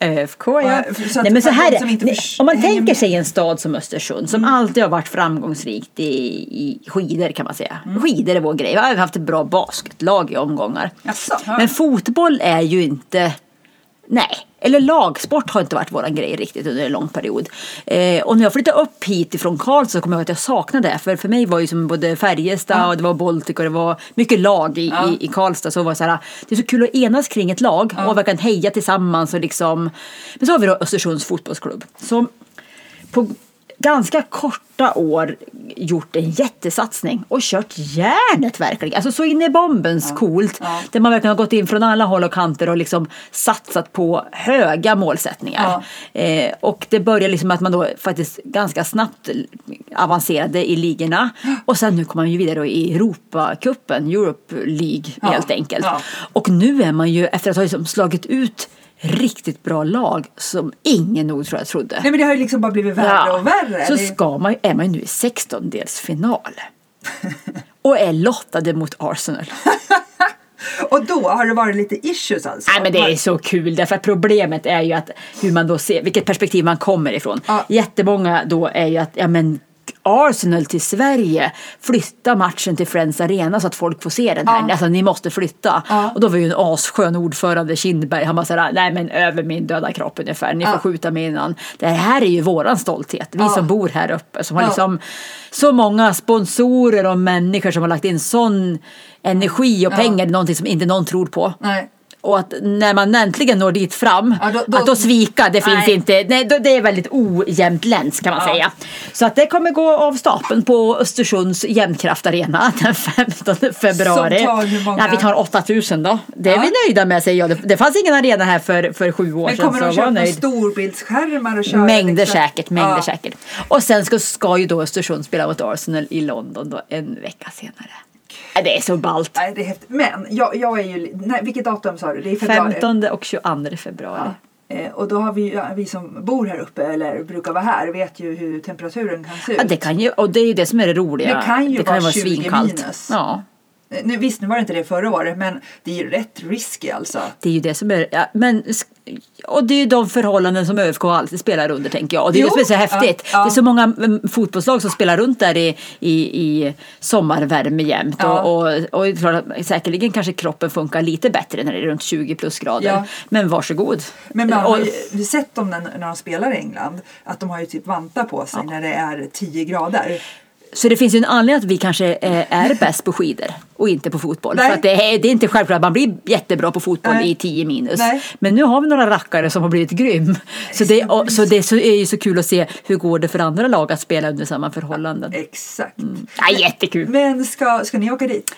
Speaker 2: ÖFK ja.
Speaker 3: Ja, Eh, så att
Speaker 2: Nej, men
Speaker 3: för
Speaker 2: så här
Speaker 3: de
Speaker 2: är,
Speaker 3: som inte
Speaker 2: det.
Speaker 3: förs-
Speaker 2: om man
Speaker 3: hänger
Speaker 2: tänker
Speaker 3: med.
Speaker 2: sig en stad som Östersund som alltid har varit framgångsrikt i, i skidor kan man säga.
Speaker 3: Mm.
Speaker 2: Skidor är vår grej. Vi har haft ett bra basketlag i omgångar.
Speaker 3: Jaså, ja.
Speaker 2: Men fotboll är ju inte Nej, eller lagsport har inte varit våran grej riktigt under en lång period. Eh, och när jag flyttade upp hit ifrån Karlstad så kommer jag ihåg att jag saknade det. För för mig var ju som både Färjestad och det var Baltic och det var mycket lag i,
Speaker 3: Ja.
Speaker 2: i, i Karlstad. Så var det, så här, det är så kul att enas kring ett lag och verkligen heja tillsammans. Och liksom. Men så har vi då Östersunds fotbollsklubb. Som på ganska korta år gjort en jättesatsning och kört järnet verkligen. Alltså så in i bombens coolt.
Speaker 3: Ja.
Speaker 2: Där man verkligen har gått in från alla håll och kanter och liksom satsat på höga målsättningar. Eh, och det började liksom att man då faktiskt ganska snabbt avancerade i ligorna. Och sen nu kommer man ju vidare då i Europacupen, Europe League
Speaker 3: Ja.
Speaker 2: helt enkelt.
Speaker 3: Ja.
Speaker 2: Och nu är man ju, efter att ha liksom slagit ut riktigt bra lag som ingen nog tror jag trodde.
Speaker 3: Nej men det har ju liksom bara blivit värre och värre.
Speaker 2: Så
Speaker 3: det...
Speaker 2: ska man, ju- är man ju nu i 16-delsfinal. och är lottade mot Arsenal.
Speaker 3: Och då har det varit lite issues alltså?
Speaker 2: Nej men det är så kul därför att problemet är ju att hur man då ser, vilket perspektiv man kommer ifrån.
Speaker 3: Ja.
Speaker 2: Jättemånga då är ju att, ja men Arsenal till Sverige, flytta matchen till Friends Arena så att folk får se den här.
Speaker 3: Ja.
Speaker 2: Alltså ni måste flytta.
Speaker 3: Ja.
Speaker 2: Och då var ju en asskön ordförande Kindberg, han bara såhär, nej men över min döda kropp ungefär, ni får
Speaker 3: Ja.
Speaker 2: skjuta mig innan. Det här är ju våran stolthet, vi
Speaker 3: Ja.
Speaker 2: som bor här uppe som har
Speaker 3: Ja.
Speaker 2: liksom så många sponsorer och människor som har lagt in sån energi och
Speaker 3: Ja.
Speaker 2: pengar i någonting som inte någon tror på.
Speaker 3: Nej.
Speaker 2: Och att när man äntligen når dit fram,
Speaker 3: Ja, då- då-
Speaker 2: att då svika, det finns
Speaker 3: Nej.
Speaker 2: inte. Nej, då, det är väldigt ojämnt läns kan man
Speaker 3: Ja.
Speaker 2: säga. Så att det kommer gå av stapeln på Östersunds jämnkraftarena den 15 februari.
Speaker 3: Som tar hur många?
Speaker 2: Ja, vi tar 8000 då. Det är
Speaker 3: Ja.
Speaker 2: vi nöjda med säger jag. Det, det fanns ingen arena här för, för sju år
Speaker 3: Men
Speaker 2: sedan.
Speaker 3: kommer de
Speaker 2: så var
Speaker 3: köpa några
Speaker 2: nöjd.
Speaker 3: storbildsskärmar och köra?
Speaker 2: Mängder
Speaker 3: liksom?
Speaker 2: säkert, mängder
Speaker 3: Ja.
Speaker 2: säkert. Och sen ska, ska ju då Östersund spela mot Arsenal i London då en vecka senare. Ja, Det är så ballt.
Speaker 3: Nej, det är häftigt. Men jag, jag är ju... li- Nej, vilket datum sa du? Det är i februari?
Speaker 2: 15 och 22 februari.
Speaker 3: Ja. Eh, Och då har vi, ju- ja, vi som bor här uppe eller brukar vara här vet ju hur temperaturen kan se ut.
Speaker 2: Ja, det kan ju, och det är ju det som är det roliga.
Speaker 3: Det kan ju vara 20
Speaker 2: svinkallt.
Speaker 3: minus.
Speaker 2: Ja.
Speaker 3: Eh, Nu, visst, nu var det inte det förra året, men det är ju rätt risky alltså.
Speaker 2: Det är ju det som är... Ja, men, sk- och det är ju de förhållanden som ÖFK alltid spelar under, tänker jag. Och det är
Speaker 3: Jo,
Speaker 2: det som är så
Speaker 3: ja,
Speaker 2: häftigt.
Speaker 3: ja.
Speaker 2: Det är så många mm, fotbollslag som spelar runt där i, i, i sommarvärme jämt.
Speaker 3: Ja.
Speaker 2: Och, och, och det är klart att säkerligen kanske kroppen funkar lite bättre när det är runt 20 plus grader.
Speaker 3: Ja.
Speaker 2: Men varsågod.
Speaker 3: Men man
Speaker 2: och,
Speaker 3: har ju sett dem när, när de spelar i England, att de har ju typ vantar på sig när det är 10 grader.
Speaker 2: Så det finns ju en anledning att vi kanske eh, är bäst på skidor och inte på fotboll.
Speaker 3: Nej.
Speaker 2: För att det, är, det är inte självklart att man blir jättebra på fotboll
Speaker 3: Nej.
Speaker 2: i 10 minus.
Speaker 3: Nej.
Speaker 2: Men nu har vi några rackare som har blivit grym. Så det, och, så det så är ju så kul att se hur går det för andra lag att spela under samma förhållanden.
Speaker 3: Exakt.
Speaker 2: Ja, jättekul!
Speaker 3: Men ska, ska ni åka dit?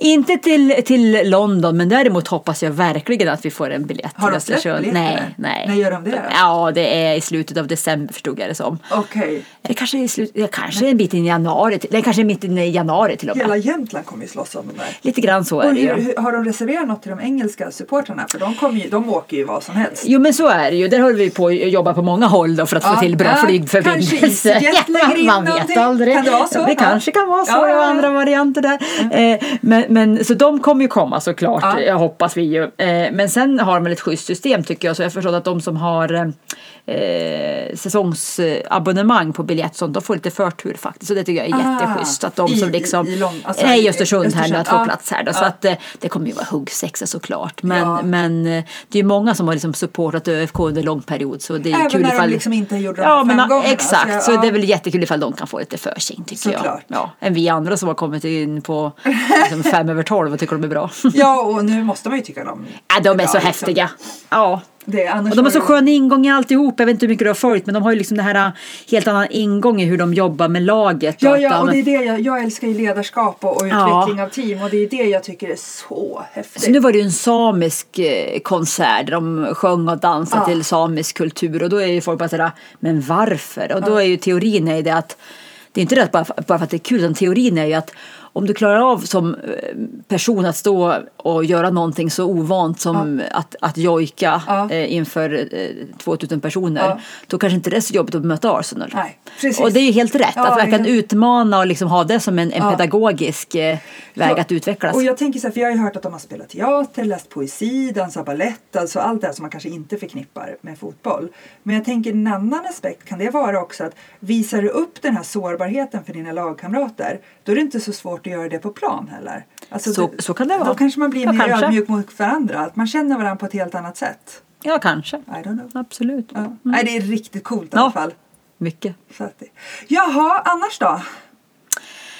Speaker 2: Inte till, till London men däremot hoppas jag verkligen att vi får en biljett
Speaker 3: Har
Speaker 2: till
Speaker 3: de släppt
Speaker 2: Östersund.
Speaker 3: biljetterna?
Speaker 2: Nej, nej.
Speaker 3: När gör de det då?
Speaker 2: Ja, det är i slutet av december förstod jag det som.
Speaker 3: Okej.
Speaker 2: Det kanske är, i slut, det kanske är en bit in i januari, till- det kanske är mitten i januari till och med.
Speaker 3: Hela Jämtland kommer ju slåss om de där.
Speaker 2: Lite grann så är
Speaker 3: Och
Speaker 2: det
Speaker 3: hur,
Speaker 2: ju.
Speaker 3: hur, har de reserverat något till de engelska supportrarna? För de, kommer ju, de åker ju vad som helst.
Speaker 2: Jo men så är det ju, där håller vi på att jobba på många håll då för att
Speaker 3: Ja,
Speaker 2: få till bra
Speaker 3: ja, kanske
Speaker 2: flygförbindelser.
Speaker 3: EasyJet lägger in
Speaker 2: Man vet
Speaker 3: någonting.
Speaker 2: aldrig.
Speaker 3: Kan det vara så?
Speaker 2: Det
Speaker 3: Ja.
Speaker 2: kanske kan vara så,
Speaker 3: Ja, ja,
Speaker 2: och
Speaker 3: ja.
Speaker 2: andra varianter där. Eh, men, men, så de kommer ju komma såklart,
Speaker 3: Ja.
Speaker 2: eh, hoppas vi ju. Eh, men sen har de väl ett schysst system tycker jag, så jag förstår att de som har eh, eh, säsongsabonnemang på biljett sånt, de får lite förtur faktiskt. Så det tycker jag är
Speaker 3: Ah.
Speaker 2: jätteschysst. Att de
Speaker 3: I-
Speaker 2: som liksom,
Speaker 3: i Lång- alltså,
Speaker 2: nej i
Speaker 3: i
Speaker 2: Östersund, här nu,
Speaker 3: Östersund.
Speaker 2: att få
Speaker 3: Ja.
Speaker 2: plats här då. Så
Speaker 3: Ja.
Speaker 2: att eh, det kommer ju vara huggsexa såklart. Men,
Speaker 3: Ja.
Speaker 2: men eh, det är ju många som har liksom supportat ÖFK under lång period så det är
Speaker 3: Även
Speaker 2: kul
Speaker 3: när de
Speaker 2: ifall...
Speaker 3: liksom inte gjorde de
Speaker 2: ja,
Speaker 3: här
Speaker 2: men,
Speaker 3: framgångarna,
Speaker 2: Exakt,
Speaker 3: så jag-
Speaker 2: så,
Speaker 3: alltså, ja.
Speaker 2: det är väl jättekul ifall de kan få lite försin tycker jag.
Speaker 3: Såklart.
Speaker 2: Ja, än vi andra som har kommit in på liksom, fem över tolv och tycker de är bra.
Speaker 3: Ja, och nu måste man ju tycka de
Speaker 2: Ja, de är
Speaker 3: Ja,
Speaker 2: så
Speaker 3: liksom.
Speaker 2: häftiga. Ja.
Speaker 3: Det, annars
Speaker 2: Och de har så
Speaker 3: var det-
Speaker 2: skön ingång i alltihop. Jag vet inte hur mycket du har följt men de har ju liksom det här äh, helt annan ingång i hur de jobbar med laget.
Speaker 3: Ja,
Speaker 2: att
Speaker 3: ja,
Speaker 2: de-
Speaker 3: och det är det jag, jag älskar ju ledarskap och, och
Speaker 2: Ja.
Speaker 3: utveckling av team och det är det jag tycker är så häftigt.
Speaker 2: Så nu var det ju en samisk eh, konsert där de sjöng och dansade
Speaker 3: Ja.
Speaker 2: till samisk kultur och då är ju folk bara sådär, men varför? Och då är ju teorin är ju det att det är inte det att bara, bara för att det är kul, utan teorin är ju att om du klarar av som eh, person att stå och göra någonting så ovant som att, att jojka
Speaker 3: Ja.
Speaker 2: eh, inför eh, 2000 personer,
Speaker 3: Ja.
Speaker 2: då kanske inte det är så jobbigt att möta Arsenal.
Speaker 3: Nej, precis.
Speaker 2: och det är ju helt rätt,
Speaker 3: Ja,
Speaker 2: att
Speaker 3: det är
Speaker 2: verkligen
Speaker 3: helt-
Speaker 2: utmana och liksom ha det som en, en
Speaker 3: Ja.
Speaker 2: pedagogisk eh, väg
Speaker 3: Ja,
Speaker 2: att utvecklas.
Speaker 3: Och jag tänker så här, för jag har ju hört att de har spelat teater, läst poesi, dansat balett, alltså allt det här som man kanske inte förknippar med fotboll. Men jag tänker en annan aspekt kan det vara också att visar du upp den här sårbarheten för dina lagkamrater, då är det inte så svårt att göra det på plan heller. Alltså,
Speaker 2: Så-
Speaker 3: du-
Speaker 2: så kan det vara.
Speaker 3: Då kanske man blir
Speaker 2: Ja,
Speaker 3: mer
Speaker 2: kanske.
Speaker 3: ödmjuk mot varandra, att man känner varandra på ett helt annat sätt.
Speaker 2: Ja, kanske.
Speaker 3: I don't know.
Speaker 2: Absolut.
Speaker 3: Ja. Nej, det är riktigt coolt i
Speaker 2: Mm. Ja.
Speaker 3: alla fall.
Speaker 2: Mycket.
Speaker 3: Så att det... Jaha, annars då?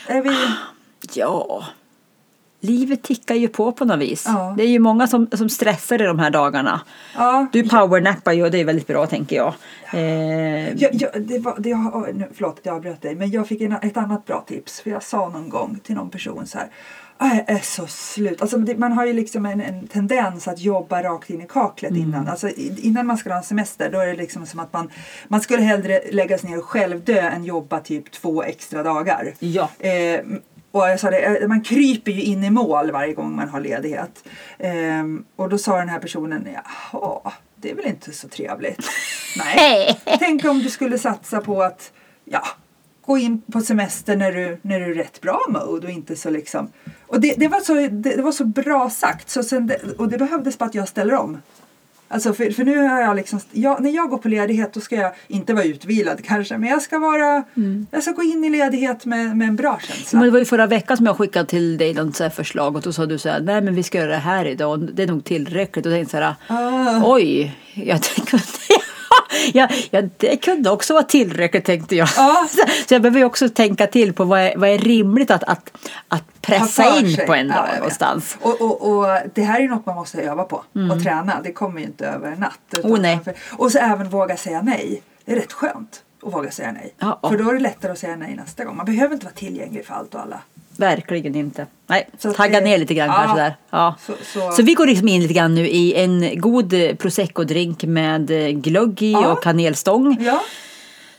Speaker 3: Är vi...
Speaker 2: Ja. Livet tickar ju på på något vis.
Speaker 3: Ja.
Speaker 2: Det är ju många som, som stressar i de här dagarna.
Speaker 3: Ja.
Speaker 2: Du powernappar ju och det är väldigt bra tänker jag. Eh,
Speaker 3: Jag, jag, det var, det, jag, oj, nu, förlåt att jag avbröt dig, men jag fick en, ett annat bra tips. För jag sa någon gång till någon person så här. "Ah, Jag är så slut. Alltså, det, man har ju liksom en, en tendens att jobba rakt in i kaklet innan. Alltså, i- innan man ska ha en semester då är det liksom som att man, man skulle hellre lägga sig ner och självdö än jobba typ två extra dagar.
Speaker 2: Ja.
Speaker 3: Eh, och jag sa det, eh, man kryper ju in i mål varje gång man har ledighet. Eh, och då sa den här personen, jaha, det är väl inte så trevligt. Nej. Tänk om du skulle satsa på att, ja, gå in på semester när du, när du är rätt bra mode och inte så liksom. Och det, det, var, så, det, det var så bra sagt. Så sen det, och det behövdes bara att jag ställer om. Alltså för, för nu har jag liksom, jag, när jag går på ledighet då ska jag inte vara utvilad kanske men jag ska vara, jag ska gå in i ledighet med, med en bra känsla.
Speaker 2: Mm. men det var ju förra veckan som jag skickade till dig något så här förslag och då sa du så här, nej men vi ska göra det här idag och det är nog tillräckligt. Och jag tänkte så här,
Speaker 3: Ah.
Speaker 2: oj, jag kunde, ja, ja, det kunde också vara tillräckligt tänkte jag.
Speaker 3: Ja.
Speaker 2: Så, Alltså, så jag behöver ju också tänka till på vad är, vad är rimligt att, att, att
Speaker 3: Ta
Speaker 2: pressa
Speaker 3: för
Speaker 2: in
Speaker 3: sig.
Speaker 2: på en
Speaker 3: Ja, jag
Speaker 2: dag
Speaker 3: vet.
Speaker 2: någonstans. Mm.
Speaker 3: Och, och, och det här är ju något man måste öva på och träna. Det kommer ju inte över en natt. utan-
Speaker 2: Oh, nej.
Speaker 3: Och så även våga säga nej. Det är rätt skönt att våga säga nej.
Speaker 2: Ja, ja.
Speaker 3: För då är det lättare att säga nej nästa gång. Man behöver inte vara tillgänglig för allt och alla.
Speaker 2: Verkligen inte. Nej,
Speaker 3: Så att
Speaker 2: tagga
Speaker 3: det-
Speaker 2: ner lite grann
Speaker 3: ja,
Speaker 2: kanske där. Ja. Så,
Speaker 3: så- så-
Speaker 2: vi går liksom in lite grann nu i en god eh, prosecco-drink med eh, glögg i
Speaker 3: Ja.
Speaker 2: och kanelstång.
Speaker 3: Ja,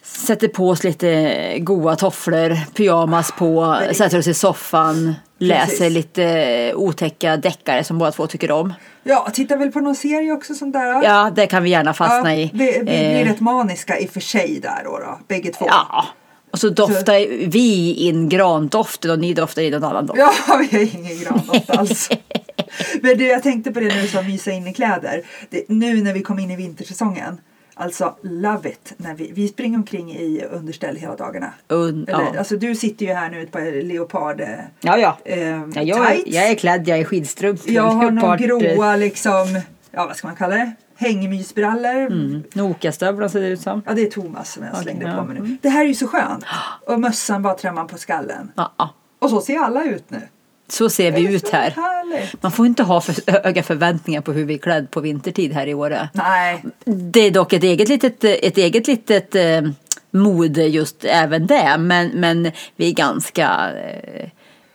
Speaker 2: Sätter på oss lite goa tofflor, pyjamas på,
Speaker 3: det-
Speaker 2: sätter oss i soffan, läser
Speaker 3: Precis.
Speaker 2: lite eh, otäcka deckare som båda två tycker om.
Speaker 3: ja tittar väl på någon serie också som där. ja.
Speaker 2: Ja, det kan vi gärna fastna i.
Speaker 3: vi, vi blir
Speaker 2: Eh,
Speaker 3: rätt maniska i och för sig där då, då bägge två.
Speaker 2: Ja. Och så doftar vi in grandoften och ni doftar in en annan doft.
Speaker 3: Ja, vi har ingen grandoft alls. Men du, jag tänkte på det när du sa mysa in i kläder. Det, nu när vi kom in i vintersäsongen. Alltså, love it! När vi, vi springer omkring i underställ hela dagarna.
Speaker 2: Und-
Speaker 3: Eller,
Speaker 2: ja.
Speaker 3: Alltså, du sitter ju här nu i ett par leopard eh,
Speaker 2: Ja, ja.
Speaker 3: ehm,
Speaker 2: ja jag,
Speaker 3: tights.
Speaker 2: jag är klädd, jag är skidstrumpor.
Speaker 3: Jag har några
Speaker 2: leopard- eh,
Speaker 3: gråa liksom, ja vad ska man kalla det? Hängmysbrallor.
Speaker 2: Mm. Nokastövlar ser det ut som.
Speaker 3: Ja, det är Thomas som jag slängde
Speaker 2: ja. Mm.
Speaker 3: på mig nu. Det här är ju så skönt! Och mössan bara trämmar på skallen.
Speaker 2: Ja, ja.
Speaker 3: Och så ser alla ut nu.
Speaker 2: Så ser
Speaker 3: Det är
Speaker 2: vi ut
Speaker 3: så
Speaker 2: här.
Speaker 3: härligt.
Speaker 2: Man får inte ha för höga förväntningar på hur vi är klädd på vintertid här i Åre.
Speaker 3: Nej,
Speaker 2: Det är dock ett eget litet, ett eget litet eh, mode just även det. Men, men vi är ganska eh,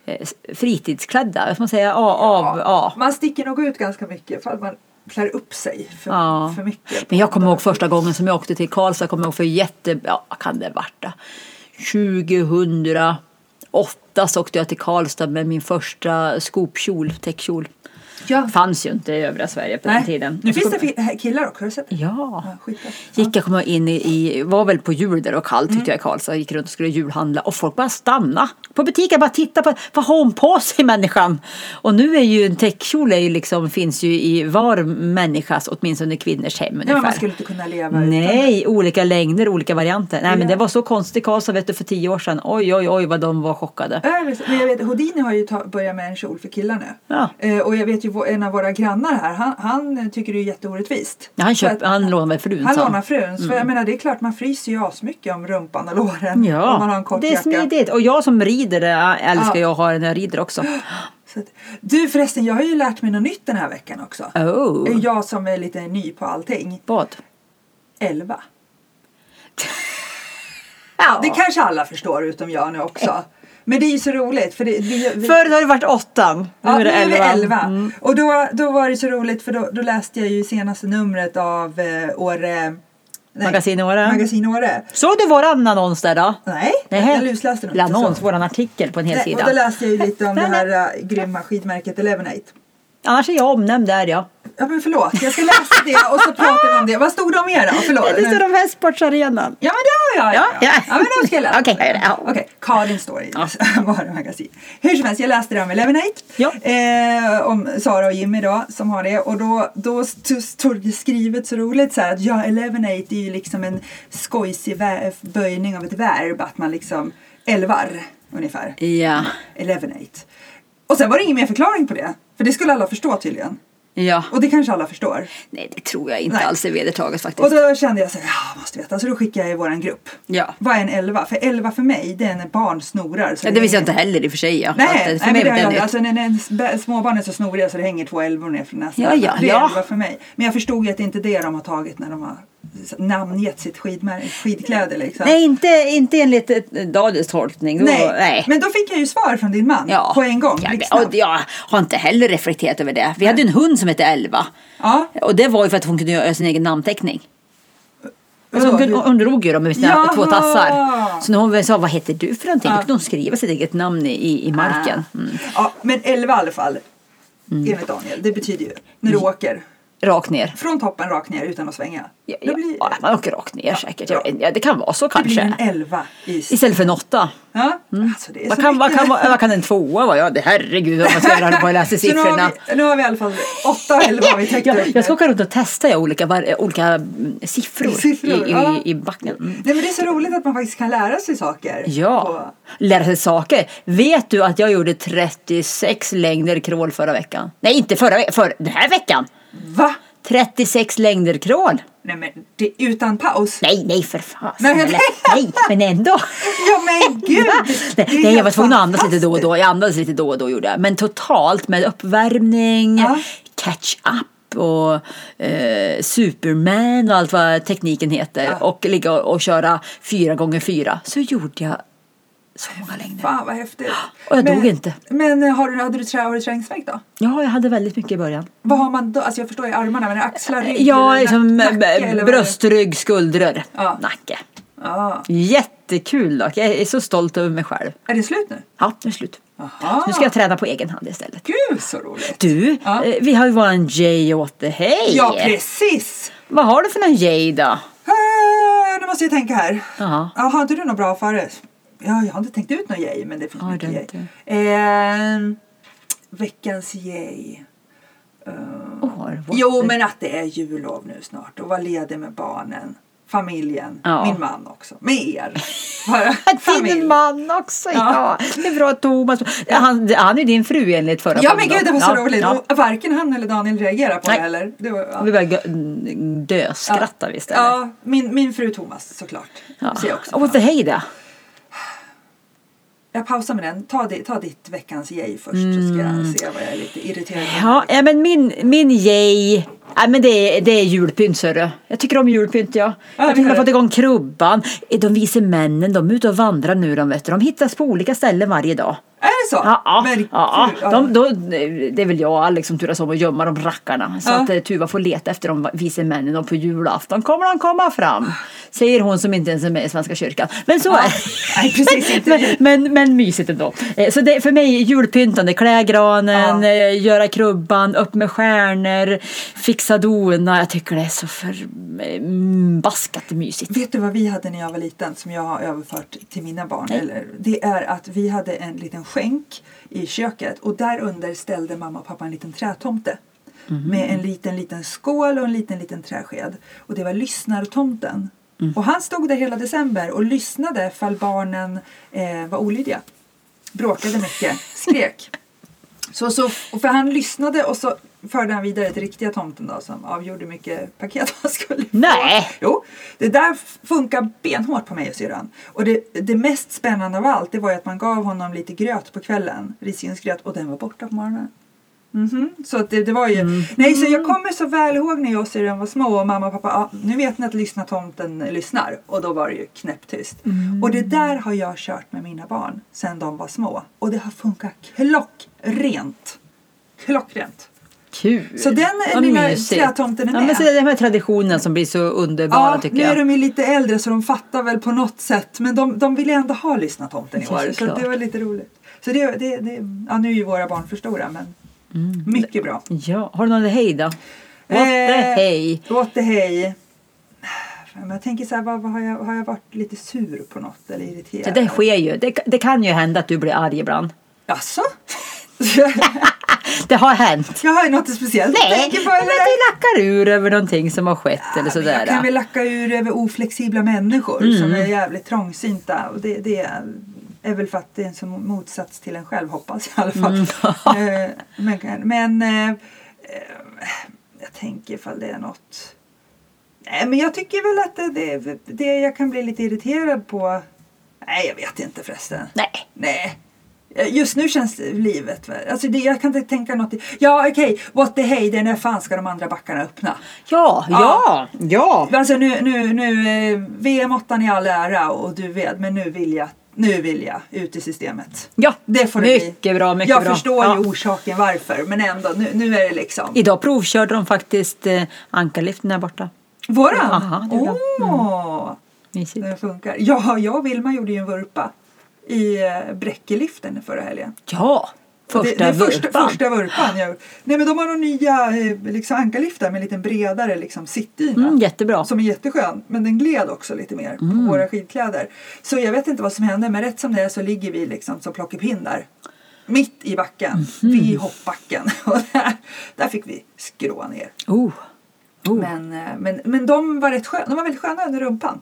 Speaker 2: eh, fritidsklädda. Vad ska man säga? Av, av, ja.
Speaker 3: Man sticker nog ut ganska mycket för att man klär upp sig för,
Speaker 2: Ja.
Speaker 3: för mycket.
Speaker 2: Men jag kommer ihåg första gången som jag åkte till Karlstad, kommer jag ihåg för jätte, ja vad kan det varta? 2008 så åkte jag till Karlstad med min första skopkjol, täckkjol.
Speaker 3: Ja.
Speaker 2: Fanns ju inte i övriga Sverige på den
Speaker 3: Nej.
Speaker 2: tiden.
Speaker 3: Nu
Speaker 2: Och så
Speaker 3: finns det
Speaker 2: kom-
Speaker 3: fi- killar också, har du sett det?
Speaker 2: Ja.
Speaker 3: Ja, skitbra.
Speaker 2: Gick jag kom jag in i, i, var väl på jul där och kallt
Speaker 3: Mm.
Speaker 2: tyckte jag i Karlstad, gick runt och skulle julhandla och folk bara stanna på butiken, bara titta på vad har hon på sig människan? Och nu är ju en täckkjol är ju liksom, finns ju i var människas, åtminstone kvinnors hem
Speaker 3: Nej,
Speaker 2: ungefär.
Speaker 3: men man skulle inte kunna leva utan
Speaker 2: Nej, olika längder, olika varianter. Nej, men
Speaker 3: Ja.
Speaker 2: det var så konstigt Karlstad vet du, för tio år sedan. Oj, oj, oj vad de var chockade.
Speaker 3: Är det så? Men jag vet, Houdini har ju ta, börjat med en kjol för killar nu.
Speaker 2: Ja.
Speaker 3: Eh, och jag vet ju vår- en av våra grannar här, han, han tycker det är jätteorättvist.
Speaker 2: Ja, han,
Speaker 3: För
Speaker 2: köp,
Speaker 3: att-
Speaker 2: han lånade väl frun Mm.
Speaker 3: han
Speaker 2: sa
Speaker 3: lånar fruns. För jag menar det är klart man fryser ju asmycket om rumpan och låren.
Speaker 2: Ja,
Speaker 3: Om man har en kort
Speaker 2: det är
Speaker 3: jacka.
Speaker 2: smidigt. Och jag som rider, jag älskar
Speaker 3: Ja.
Speaker 2: jag att ha den när jag rider också.
Speaker 3: Så att, du förresten, jag har ju lärt mig något nytt den här veckan också.
Speaker 2: Oh,
Speaker 3: Jag som är lite ny på allting.
Speaker 2: vad?
Speaker 3: Elva.
Speaker 2: Ja.
Speaker 3: Det kanske alla förstår utom jag nu också. Men det är ju så roligt för det, vi, vi,
Speaker 2: Förut har det varit åttan, nu
Speaker 3: ja,
Speaker 2: är det elvan.
Speaker 3: elva.
Speaker 2: Mm.
Speaker 3: Och då, då var det så roligt för då, då läste jag ju senaste numret av eh, Åre... nej,
Speaker 2: Magasin Åre.
Speaker 3: Magasin Åre.
Speaker 2: Såg du våran annons där då?
Speaker 3: Nej,
Speaker 2: Nähä.
Speaker 3: jag lusläste nog
Speaker 2: Eller
Speaker 3: inte så.
Speaker 2: annons, våran artikel på en hel
Speaker 3: Nej, och
Speaker 2: sida.
Speaker 3: då läste jag ju lite om det här eh, grymma skidmärket Elevenate.
Speaker 2: Annars är jag omnämnd där ja.
Speaker 3: Ja men förlåt, jag ska läsa det och så pratar vi om det. Vad stod det om er då? Förlåt.
Speaker 2: Det
Speaker 3: nu-
Speaker 2: står om hästsportsarenan.
Speaker 3: Ja men det har jag!
Speaker 2: Ja, ja.
Speaker 3: ja men då ska jag läsa.
Speaker 2: Okej, jag gör det, ja.
Speaker 3: Okej, Karin står i varumagasin. Hur som helst, jag läste det om Elevenate.
Speaker 2: Ja.
Speaker 3: Eh, om Sara och Jimmy då, som har det. Och då, då st- stod det skrivet så roligt så här att ja, Elevenate är ju liksom en skojsig vä- böjning av ett verb. Att man liksom elvar, ungefär.
Speaker 2: Ja,
Speaker 3: Elevenate. Och sen var det ingen mer förklaring på det. För det skulle alla förstå tydligen.
Speaker 2: ja.
Speaker 3: Och det kanske alla förstår.
Speaker 2: Nej, det tror jag inte
Speaker 3: Nej.
Speaker 2: alls är vedertaget faktiskt.
Speaker 3: Och då kände jag så här, ja, måste veta. Så då skickade jag i våran grupp.
Speaker 2: Ja.
Speaker 3: Vad är en elva? För elva för mig, det är när barn snorar. Så
Speaker 2: Ja, det visste jag inte heller i och för sig. Ja.
Speaker 3: Nej,
Speaker 2: Att det- för
Speaker 3: nej
Speaker 2: mig
Speaker 3: men det
Speaker 2: var
Speaker 3: har
Speaker 2: det
Speaker 3: jag
Speaker 2: nytt.
Speaker 3: Alltså när, när småbarn är så snoriga så det hänger två elvor ner från näsan.
Speaker 2: Ja, ja,
Speaker 3: det är
Speaker 2: ja.
Speaker 3: elva för mig. Men jag förstod ju att det inte är det de har tagit när de har namngett sitt skidmär- skidkläder liksom.
Speaker 2: Nej, inte, inte enligt eh, Daniels tolkning. Då,
Speaker 3: Nej.
Speaker 2: nej. nej.
Speaker 3: Men då fick jag ju svar från din man
Speaker 2: Ja.
Speaker 3: på en gång. liksom.
Speaker 2: Ja, det,
Speaker 3: blixtsnabbt.
Speaker 2: och jag har inte heller reflekterat över det. Vi hade ju en hund som hette Elva.
Speaker 3: Ja.
Speaker 2: Och det var ju för att hon kunde göra sin egen namnteckning. Alltså
Speaker 3: Vadå,
Speaker 2: hon, kunde,
Speaker 3: du-
Speaker 2: hon drog ju dem med sina
Speaker 3: Jaha!
Speaker 2: två tassar. Så när hon sa vad heter du för någonting?
Speaker 3: Ja. Ah.
Speaker 2: Då kunde hon skriva sitt eget namn i- i, i marken. Mm.
Speaker 3: ja, men elva i alla fall. Enligt Daniel. Det betyder ju när du
Speaker 2: Mm.
Speaker 3: åker
Speaker 2: Rakt ner.
Speaker 3: från toppen rakt ner utan att svänga.
Speaker 2: Ja,
Speaker 3: Då blir
Speaker 2: ja, man åker rakt ner säkert. Jag
Speaker 3: ja.
Speaker 2: vet- Ja, det kan vara så
Speaker 3: Det blir en
Speaker 2: kanske.
Speaker 3: elva i
Speaker 2: Istället för en åtta.
Speaker 3: Ja, alltså det är
Speaker 2: Mm. Vad
Speaker 3: så
Speaker 2: kan, vad,
Speaker 3: mycket.
Speaker 2: kan, vad, vad kan en tvåa vara? Ja, det, herregud vad man ska göra på att läsa
Speaker 3: Så nu har
Speaker 2: siffrorna.
Speaker 3: vi- Nu har vi i alla fall åtta och elva har vi täckt
Speaker 2: jag,
Speaker 3: upp
Speaker 2: jag ska
Speaker 3: nu.
Speaker 2: åka runt och testa ja, olika, var, olika mm, siffror,
Speaker 3: Siffror,
Speaker 2: i, i,
Speaker 3: ja.
Speaker 2: i backen. Mm.
Speaker 3: Nej men det är så roligt att man faktiskt kan lära sig saker.
Speaker 2: Ja,
Speaker 3: på-
Speaker 2: lära sig saker. Vet du att jag gjorde 36 längder crawl förra veckan? Nej, inte förra veckan, för den här veckan!
Speaker 3: Va?
Speaker 2: 36 längder crawl!
Speaker 3: Nej men det är utan paus.
Speaker 2: Nej, nej för fan!
Speaker 3: Nej, men-
Speaker 2: snälla. nej, men ändå!
Speaker 3: Ja men gud!
Speaker 2: Va?
Speaker 3: det är
Speaker 2: Nej, jag
Speaker 3: helt
Speaker 2: var tvungen att andas lite då och
Speaker 3: fantastiskt.
Speaker 2: då. Jag andades lite då och då gjorde jag. Men totalt med uppvärmning,
Speaker 3: Ja.
Speaker 2: catch up och eh, Superman och allt vad tekniken heter.
Speaker 3: Ja.
Speaker 2: Och ligga och, och köra fyra gånger fyra. Så gjorde jag så många längder.
Speaker 3: Fan vad häftigt.
Speaker 2: Och jag dog inte.
Speaker 3: Men eh, har du, hade du, trä, har du träningsvärk då?
Speaker 2: Ja, jag hade väldigt mycket i början.
Speaker 3: Vad har man då? Alltså jag förstår ju armarna men är det axlar, rygg,
Speaker 2: Ja,
Speaker 3: eller
Speaker 2: liksom
Speaker 3: nack- nacke, eller
Speaker 2: eh,
Speaker 3: vad är det?
Speaker 2: bröst, rygg, skuldror,
Speaker 3: Ja.
Speaker 2: nacke.
Speaker 3: Ja.
Speaker 2: Jättekul dock. Jag är så stolt över mig själv.
Speaker 3: Är det slut nu?
Speaker 2: Ja, nu är det slut.
Speaker 3: Aha.
Speaker 2: Nu ska jag träna på egen hand istället.
Speaker 3: Gud så roligt.
Speaker 2: Du,
Speaker 3: Ja.
Speaker 2: eh, vi har ju våran Jay åt det. Hej!
Speaker 3: Ja precis!
Speaker 2: Vad har du för någon Jay då?
Speaker 3: Eh, Nu måste jag tänka här.
Speaker 2: Jaha.
Speaker 3: Ja, har inte du något bra före? Ja, jag har inte tänkt ut något yay, men det finns
Speaker 2: Ja,
Speaker 3: mycket
Speaker 2: det är
Speaker 3: yay. Eh, veckans yay. Eh,
Speaker 2: År, vad-
Speaker 3: jo, men att det är jullov nu snart och vara ledig med barnen, familjen,
Speaker 2: Ja.
Speaker 3: min man också, med er. Bara
Speaker 2: Din man också! Ja.
Speaker 3: Ja.
Speaker 2: Det är bra att Thomas... Han, han är din fru enligt förra
Speaker 3: Ja men
Speaker 2: podden då.
Speaker 3: gud det var så
Speaker 2: Ja,
Speaker 3: roligt!
Speaker 2: ja.
Speaker 3: Och varken han eller Daniel reagerar på
Speaker 2: Nej.
Speaker 3: det heller. Det var, ja.
Speaker 2: Vi började gö- döskratta ja. istället.
Speaker 3: Ja, min, min fru Thomas såklart. Ja. Ser jag också.
Speaker 2: Och
Speaker 3: fram.
Speaker 2: the hejda.
Speaker 3: Jag pausar med den. Ta, di, ta ditt veckans yay först så ska
Speaker 2: Mm.
Speaker 3: jag se vad jag är lite irriterad på.
Speaker 2: Ja, ja, men min, min yay. Ja, men det, är- det är julpynt, sörru. Jag tycker om julpynt, ja.
Speaker 3: Ja,
Speaker 2: jag
Speaker 3: det
Speaker 2: tycker
Speaker 3: gör
Speaker 2: har fått
Speaker 3: det.
Speaker 2: igång krubban. De vise männen, de är ute och vandrar nu. De, vet du. de hittas på olika ställen varje dag.
Speaker 3: Är det så?
Speaker 2: Ja, ja,
Speaker 3: Men gud,
Speaker 2: ja, ja.
Speaker 3: ja.
Speaker 2: De, då, det är väl jag och Alex som turas om att gömma de rackarna. Så
Speaker 3: Ja.
Speaker 2: att eh, Tuva får leta efter de vise männen och på julafton kommer de komma fram. Säger hon som inte ens är med i Svenska kyrkan. Men så är
Speaker 3: Nej precis, inte
Speaker 2: men, men, men mysigt ändå. Eh, Så det, för mig är julpyntande, klä granen,
Speaker 3: Ja.
Speaker 2: eh, göra krubban, upp med stjärnor, fixa dona. Jag tycker det är så förbaskat mysigt.
Speaker 3: Vet du vad vi hade när jag var liten som jag har överfört till mina barn?
Speaker 2: Nej.
Speaker 3: Eller, det är att vi hade en liten skänk i köket och där under ställde mamma och pappa en liten trätomte.
Speaker 2: Mhm.
Speaker 3: Med en liten liten skål och en liten liten träsked. Och det var lyssnartomten.
Speaker 2: Mm.
Speaker 3: Och han stod där hela december och lyssnade fall barnen eh, var olydiga. Bråkade mycket, skrek. Så, så, och för han lyssnade och så förde han vidare till riktiga tomten då, som avgjorde mycket paket han skulle få.
Speaker 2: Nej.
Speaker 3: Jo, det där funkar benhårt på mig och syrran. Och det, det mest spännande av allt det var ju att man gav honom lite gröt på kvällen, risgrynsgröt, och den var borta på morgonen. Mhm, Så att det, det var ju... Nej, så jag kommer så väl ihåg när jag och syrran var små och mamma och pappa, ah, nu vet ni att lyssna tomten lyssnar. Och då var det ju knäpptyst. Och det där har jag kört med mina barn sedan de var små. Och det har funkat klockrent. Klockrent.
Speaker 2: Kul!
Speaker 3: Så den
Speaker 2: Vad
Speaker 3: lilla
Speaker 2: mysigt.
Speaker 3: trätomten är
Speaker 2: ja,
Speaker 3: med.
Speaker 2: men så är Det här med traditionen som blir så underbara
Speaker 3: Ja,
Speaker 2: tycker
Speaker 3: nu
Speaker 2: jag.
Speaker 3: är de ju lite äldre så de fattar väl på något sätt. Men de, de ville ändå ha lyssnatomten i
Speaker 2: Ja,
Speaker 3: år. Så
Speaker 2: såklart.
Speaker 3: det var lite roligt. Så det, det, det, ja, nu är ju våra barn för stora men mycket bra.
Speaker 2: Ja, har du någon hej då? What Mm. the
Speaker 3: Eh,
Speaker 2: hej?
Speaker 3: What the hey. Men jag tänker så här, vad, vad har, jag, har jag varit lite sur på något eller
Speaker 2: Det
Speaker 3: irriterad?
Speaker 2: där sker ju. Det, det kan ju hända att du blir arg ibland.
Speaker 3: Jaså?
Speaker 2: Det har hänt.
Speaker 3: jag har ju något speciellt jag
Speaker 2: Nej,
Speaker 3: tänker
Speaker 2: men
Speaker 3: på eller?
Speaker 2: att du lackar ur över någonting som har skett eller
Speaker 3: Ja, men
Speaker 2: sådär. Mm.
Speaker 3: Jag kan väl lacka ur över oflexibla människor som är jävligt trångsynta. Och det, det är väl för att det är en som motsats till en själv hoppas jag i alla fall.
Speaker 2: Mm.
Speaker 3: Eh, men men eh, eh, jag tänker ifall det är något. Nej men jag tycker väl att det, det, det jag kan bli lite irriterad på. Nej jag vet inte förresten.
Speaker 2: Nej.
Speaker 3: Nej. Just nu känns livet... väl- Alltså det, jag kan inte tänka något... i- Ja, okej. What the hey, det är när fan ska de andra backarna öppna?
Speaker 2: Ja, ja, ja.
Speaker 3: Alltså nu, nu, nu eh, VM-8 i all ära och du vet, men nu vill jag, nu vill jag ut i systemet.
Speaker 2: Ja,
Speaker 3: Det får det
Speaker 2: mycket
Speaker 3: bli.
Speaker 2: bra, mycket
Speaker 3: jag
Speaker 2: bra.
Speaker 3: förstår
Speaker 2: Ja.
Speaker 3: ju orsaken varför, men ändå, nu, nu är det liksom.
Speaker 2: Idag provkörde de faktiskt eh, ankarliften där borta.
Speaker 3: Våran?
Speaker 2: Aha, det är bra. Mm.
Speaker 3: Åh,
Speaker 2: Mysigt.
Speaker 3: den funkar. Ja, jag och Vilma gjorde ju en vurpa i eh, Bräckeliften förra helgen.
Speaker 2: Ja, första
Speaker 3: det, det är första,
Speaker 2: vurpan.
Speaker 3: första vurpan. Jag, nej, men de har några nya eh, liksom, ankarliftar med lite bredare liksom, sittyna.
Speaker 2: Mm, jättebra.
Speaker 3: Som är jätteskön, men den gled också lite mer
Speaker 2: Mm.
Speaker 3: på våra skidkläder. Så jag vet inte vad som hände, men rätt som det är så ligger vi liksom som plockepinnar. Mitt i backen,
Speaker 2: Mhm.
Speaker 3: vid hoppbacken. Och där, där fick vi skrå ner.
Speaker 2: Oh, oh,
Speaker 3: Men, eh, men, men de var rätt sköna, de var väldigt sköna under rumpan.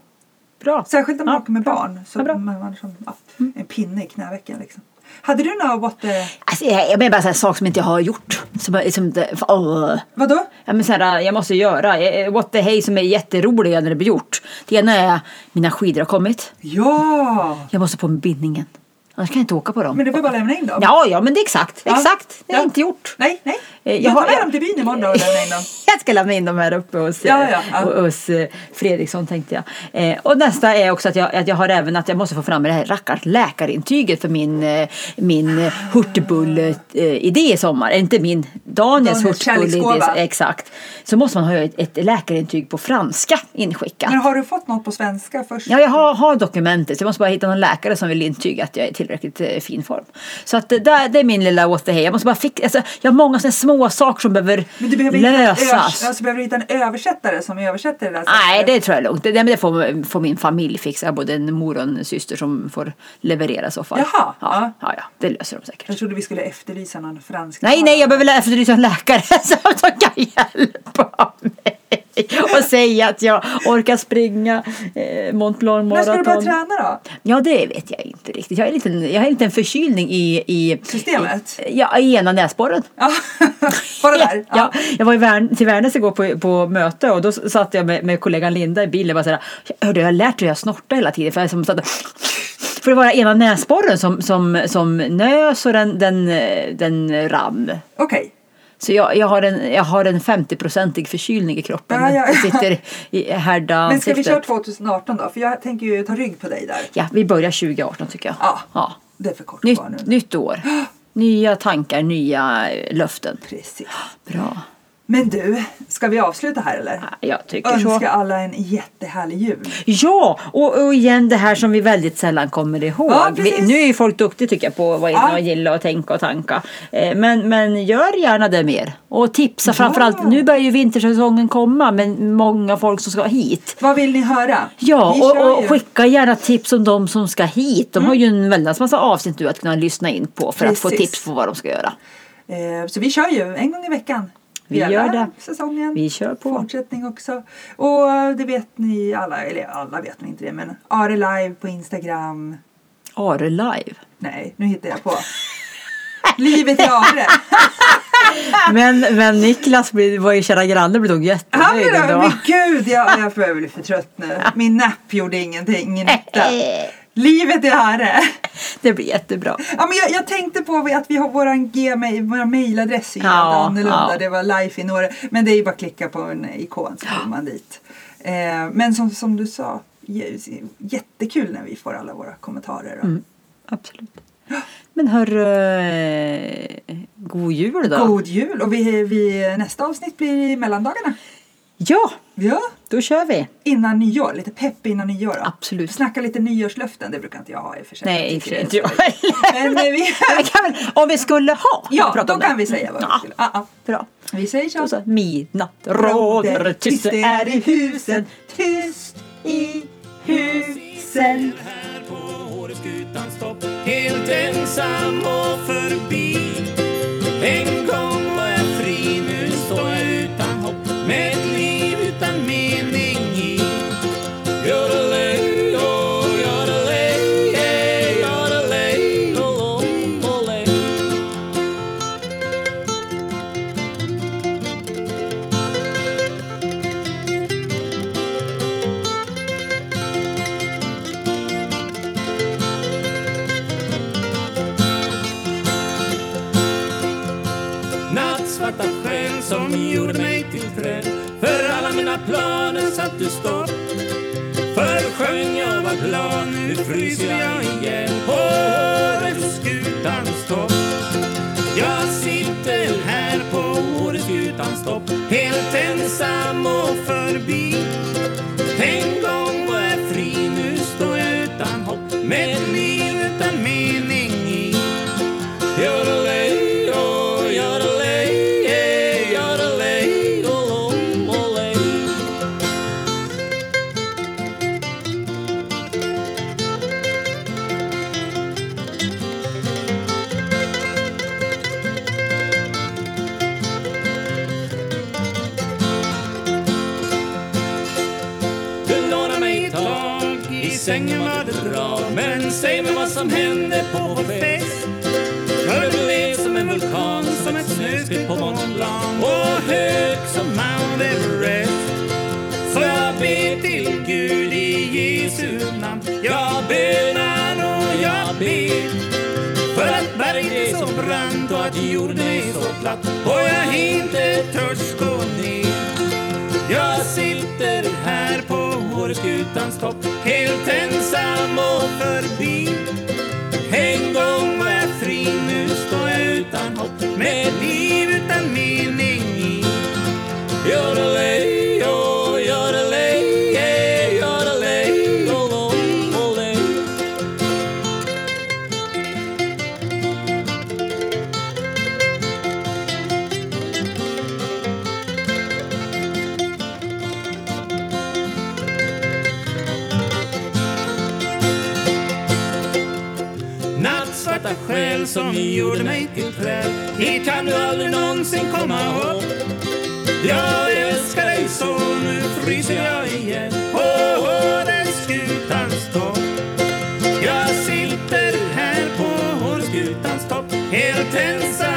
Speaker 2: bra.
Speaker 3: Särskilt när man
Speaker 2: Ja,
Speaker 3: åker med
Speaker 2: bra.
Speaker 3: barn. Så
Speaker 2: Ja, bra. Mm.
Speaker 3: man var som ja, en pinne i knävecken liksom. Hade du något, eh, what the,
Speaker 2: Alltså, jag, jag menar bara en sak som inte jag har gjort. Som, jag- som, det- åh.
Speaker 3: vadå?
Speaker 2: Ja, men så här, jag måste göra. Eh, What the hey som är jätteroliga när det blir gjort. Det ena är mina skidor har kommit.
Speaker 3: Ja!
Speaker 2: Jag måste på med bindningen. Annars kan jag inte åka på dem.
Speaker 3: Men du får bara lämna in dem.
Speaker 2: Ja, ja, men det är exakt.
Speaker 3: Ja.
Speaker 2: Exakt. Det är
Speaker 3: Ja.
Speaker 2: inte gjort.
Speaker 3: Nej, nej.
Speaker 2: Eh,
Speaker 3: Jag tar
Speaker 2: har-
Speaker 3: med dem till byn imorgon då och lämnar in dem.
Speaker 2: jag ska lämna in dem här uppe hos,
Speaker 3: Ja,
Speaker 2: eh,
Speaker 3: ja, ja.
Speaker 2: och- hos eh, Fredriksson tänkte jag. Eh, och nästa är också att jag, att jag har även att jag måste få fram det här rackars läkarintyget för min, eh, min eh, hurtigbull-idé i sommar. Eh, Inte min, Daniels
Speaker 3: Daniels
Speaker 2: hurtigbull-idé.
Speaker 3: kärleksgåva.
Speaker 2: Exakt. Så måste man ha ett, ett läkarintyg på franska inskickat.
Speaker 3: Men har du fått något på svenska först?
Speaker 2: Ja, jag har, har dokumentet. så Jag måste bara hitta någon läkare som vill intyga att jag är till, tillräckligt eh, fin form. Så att det, där, det är min lilla återhej. Jag måste bara fixa, alltså, jag har många sådana små saker som behöver,
Speaker 3: Men du behöver, Hitta, en
Speaker 2: lösas.
Speaker 3: övers- alltså, behöver du hitta en översättare som översätter det där
Speaker 2: Nej,
Speaker 3: sättet?
Speaker 2: det tror jag är lugnt. Det, det, men det får, får min familj fixa. Jag har både en mor och en syster som får leverera i så fall.
Speaker 3: Jaha,
Speaker 2: Ja,
Speaker 3: ja.
Speaker 2: ja, ja, det löser de säkert.
Speaker 3: Jag trodde vi skulle efterlysa någon fransk.
Speaker 2: Nej, nej, jag behöver lä- efterlysa en läkare som som kan hjälpa mig och säga att jag orkar springa eh, Mont Blanc
Speaker 3: När ska du börja
Speaker 2: maraton.
Speaker 3: träna då?
Speaker 2: Ja, det vet jag inte riktigt. Jag har en liten, jag har en liten förkylning i, i,
Speaker 3: Systemet?
Speaker 2: i, ja, i ena näsborren.
Speaker 3: Ja, bara där.
Speaker 2: Ja, jag var i Värn, till Värnäs igår på, på möte och då s- satt jag med, med kollegan Linda i bilen och bara såhär, hörde jag har lärt mig att jag snortar hela tiden för jag som satt och- för det var ena näsborren som, som, som nös och den, den, eh, den ram.
Speaker 3: Okej.
Speaker 2: Så jag, jag, har en, jag har en 50-procentig förkylning i kroppen.
Speaker 3: Ja, ja,
Speaker 2: Det
Speaker 3: ja.
Speaker 2: sitter i härda
Speaker 3: Men ska vi
Speaker 2: ansiktet.
Speaker 3: köra 2018 då? För jag tänker ju ta rygg på dig där.
Speaker 2: Ja, vi börjar 2018 tycker jag.
Speaker 3: Ja.
Speaker 2: ja.
Speaker 3: Det är för kort kvar nu.
Speaker 2: Nytt, nytt år. Nya tankar, nya eh, löften.
Speaker 3: Precis.
Speaker 2: Bra.
Speaker 3: Men du, ska vi avsluta här eller?
Speaker 2: Ja, Jag tycker så.
Speaker 3: Önska alla en jättehärlig jul.
Speaker 2: Ja, och, och igen det här som vi väldigt sällan kommer ihåg.
Speaker 3: Ja, precis.
Speaker 2: vi, nu är ju folk duktiga tycker jag på vad
Speaker 3: Ja.
Speaker 2: man gillar och tänka och tanka. Eh, Men, men gör gärna det mer. Och tipsa framförallt. Nu börjar ju vintersäsongen komma men många folk som ska hit.
Speaker 3: Vad vill ni höra?
Speaker 2: Ja,
Speaker 3: Ni kör
Speaker 2: och, och
Speaker 3: ju. Mm.
Speaker 2: skicka gärna tips om de som ska hit. De har ju en väldans massa avsnitt nu att kunna lyssna in på för att få
Speaker 3: Precis.
Speaker 2: tips på vad de ska göra.
Speaker 3: Eh, Så vi kör ju en gång i veckan.
Speaker 2: Vi
Speaker 3: Hela
Speaker 2: gör det.
Speaker 3: säsongen.
Speaker 2: Vi kör på.
Speaker 3: Fortsättning också. Och eh, det vet ni alla, eller alla vet ni inte det, men Are Live på Instagram.
Speaker 2: Are live.
Speaker 3: Nej, nu hittar jag på. Livet i Are.
Speaker 2: Men, men Niklas, blev- vår kära granne, blev nog
Speaker 3: Han
Speaker 2: jättenöjd
Speaker 3: blev
Speaker 2: ändå.
Speaker 3: men gud, jag, jag börjar bli för trött nu. Min napp gjorde ingenting, ingen nytta. Livet i Are.
Speaker 2: Det blir jättebra.
Speaker 3: Ja, men jag, jag tänkte på att vi har våran gmail, vår mailadress är ju
Speaker 2: Ja,
Speaker 3: helt annorlunda.
Speaker 2: ja.
Speaker 3: Det var life in Åre. Men det är ju bara att klicka på en ikon så kommer man dit. Eh, men som, som du sa, j- jättekul när vi får alla våra kommentarer. Och
Speaker 2: Mm. Absolut. Men hörru, eh, god jul då.
Speaker 3: God jul! Och vi, vi, nästa avsnitt blir i mellandagarna.
Speaker 2: Ja,
Speaker 3: Ja,
Speaker 2: då kör vi.
Speaker 3: innan nyår. Lite pepp innan nyår. Då.
Speaker 2: Absolut.
Speaker 3: Snacka lite nyårslöften, det brukar inte jag ha i och för sig.
Speaker 2: Nej, i och
Speaker 3: jag
Speaker 2: för
Speaker 3: tycker
Speaker 2: sig
Speaker 3: det är
Speaker 2: inte jag
Speaker 3: sorgligt. Men eh, vi,
Speaker 2: Jag kan väl- Om vi skulle ha.
Speaker 3: ja,
Speaker 2: prata
Speaker 3: då
Speaker 2: om
Speaker 3: kan
Speaker 2: det.
Speaker 3: vi säga vad vi
Speaker 2: Ja,
Speaker 3: skulle. Ah, ah.
Speaker 2: Bra.
Speaker 3: Vi säger så.
Speaker 2: Då så. Midnatt råder, tyst det är i husen.
Speaker 3: tyst i husen.
Speaker 1: här på Årets utan stopp Helt ensam och förbi En gång var jag fri, nu står jag utan hopp Med ett liv utan mening i Yodelay, oh, yodelay, yeah, yodelay, oh, oh, olay. Nattsvarta sken som gjorde mig till träd För alla mina planer satt du stopp Förr sjöng jag var glad, nu fryser jag igen På årets skutans topp Jag sitter här på årets skutans topp Helt ensam och förbi En gång var jag fri, nu står jag utan hopp Med ett liv utan mening i Yodelay, oh, yodelay, yeah, yodelay, oh, oh, olay. Du lånar mig ett tag, i sängen var det bra Men säg mig vad som hände på vår fest För du blev som en vulkan, som ett snöskred på Mont Blanc Och hög som Mount Everest Så jag ber till Gud i Jesu namn Jag bönar och jag ber för att berget är så brant och att jorden är så platt och jag inte törs gå ner jag sitter här på Åreskutans topp Helt ensam och förbi En gång var jag fri, nu står jag utan hopp Med ett liv utan mening i Yodelay, oh, yodelay, yeah, yodelay, oh, oh, olay. svarta själ som gjorde mig till träd Hit kan du aldrig någonsin komma upp Jag älskar dig så, nu fryser jag igen På Hårdeskutans topp Jag sitter här på Hårdeskutans topp Helt ensam oh, oh,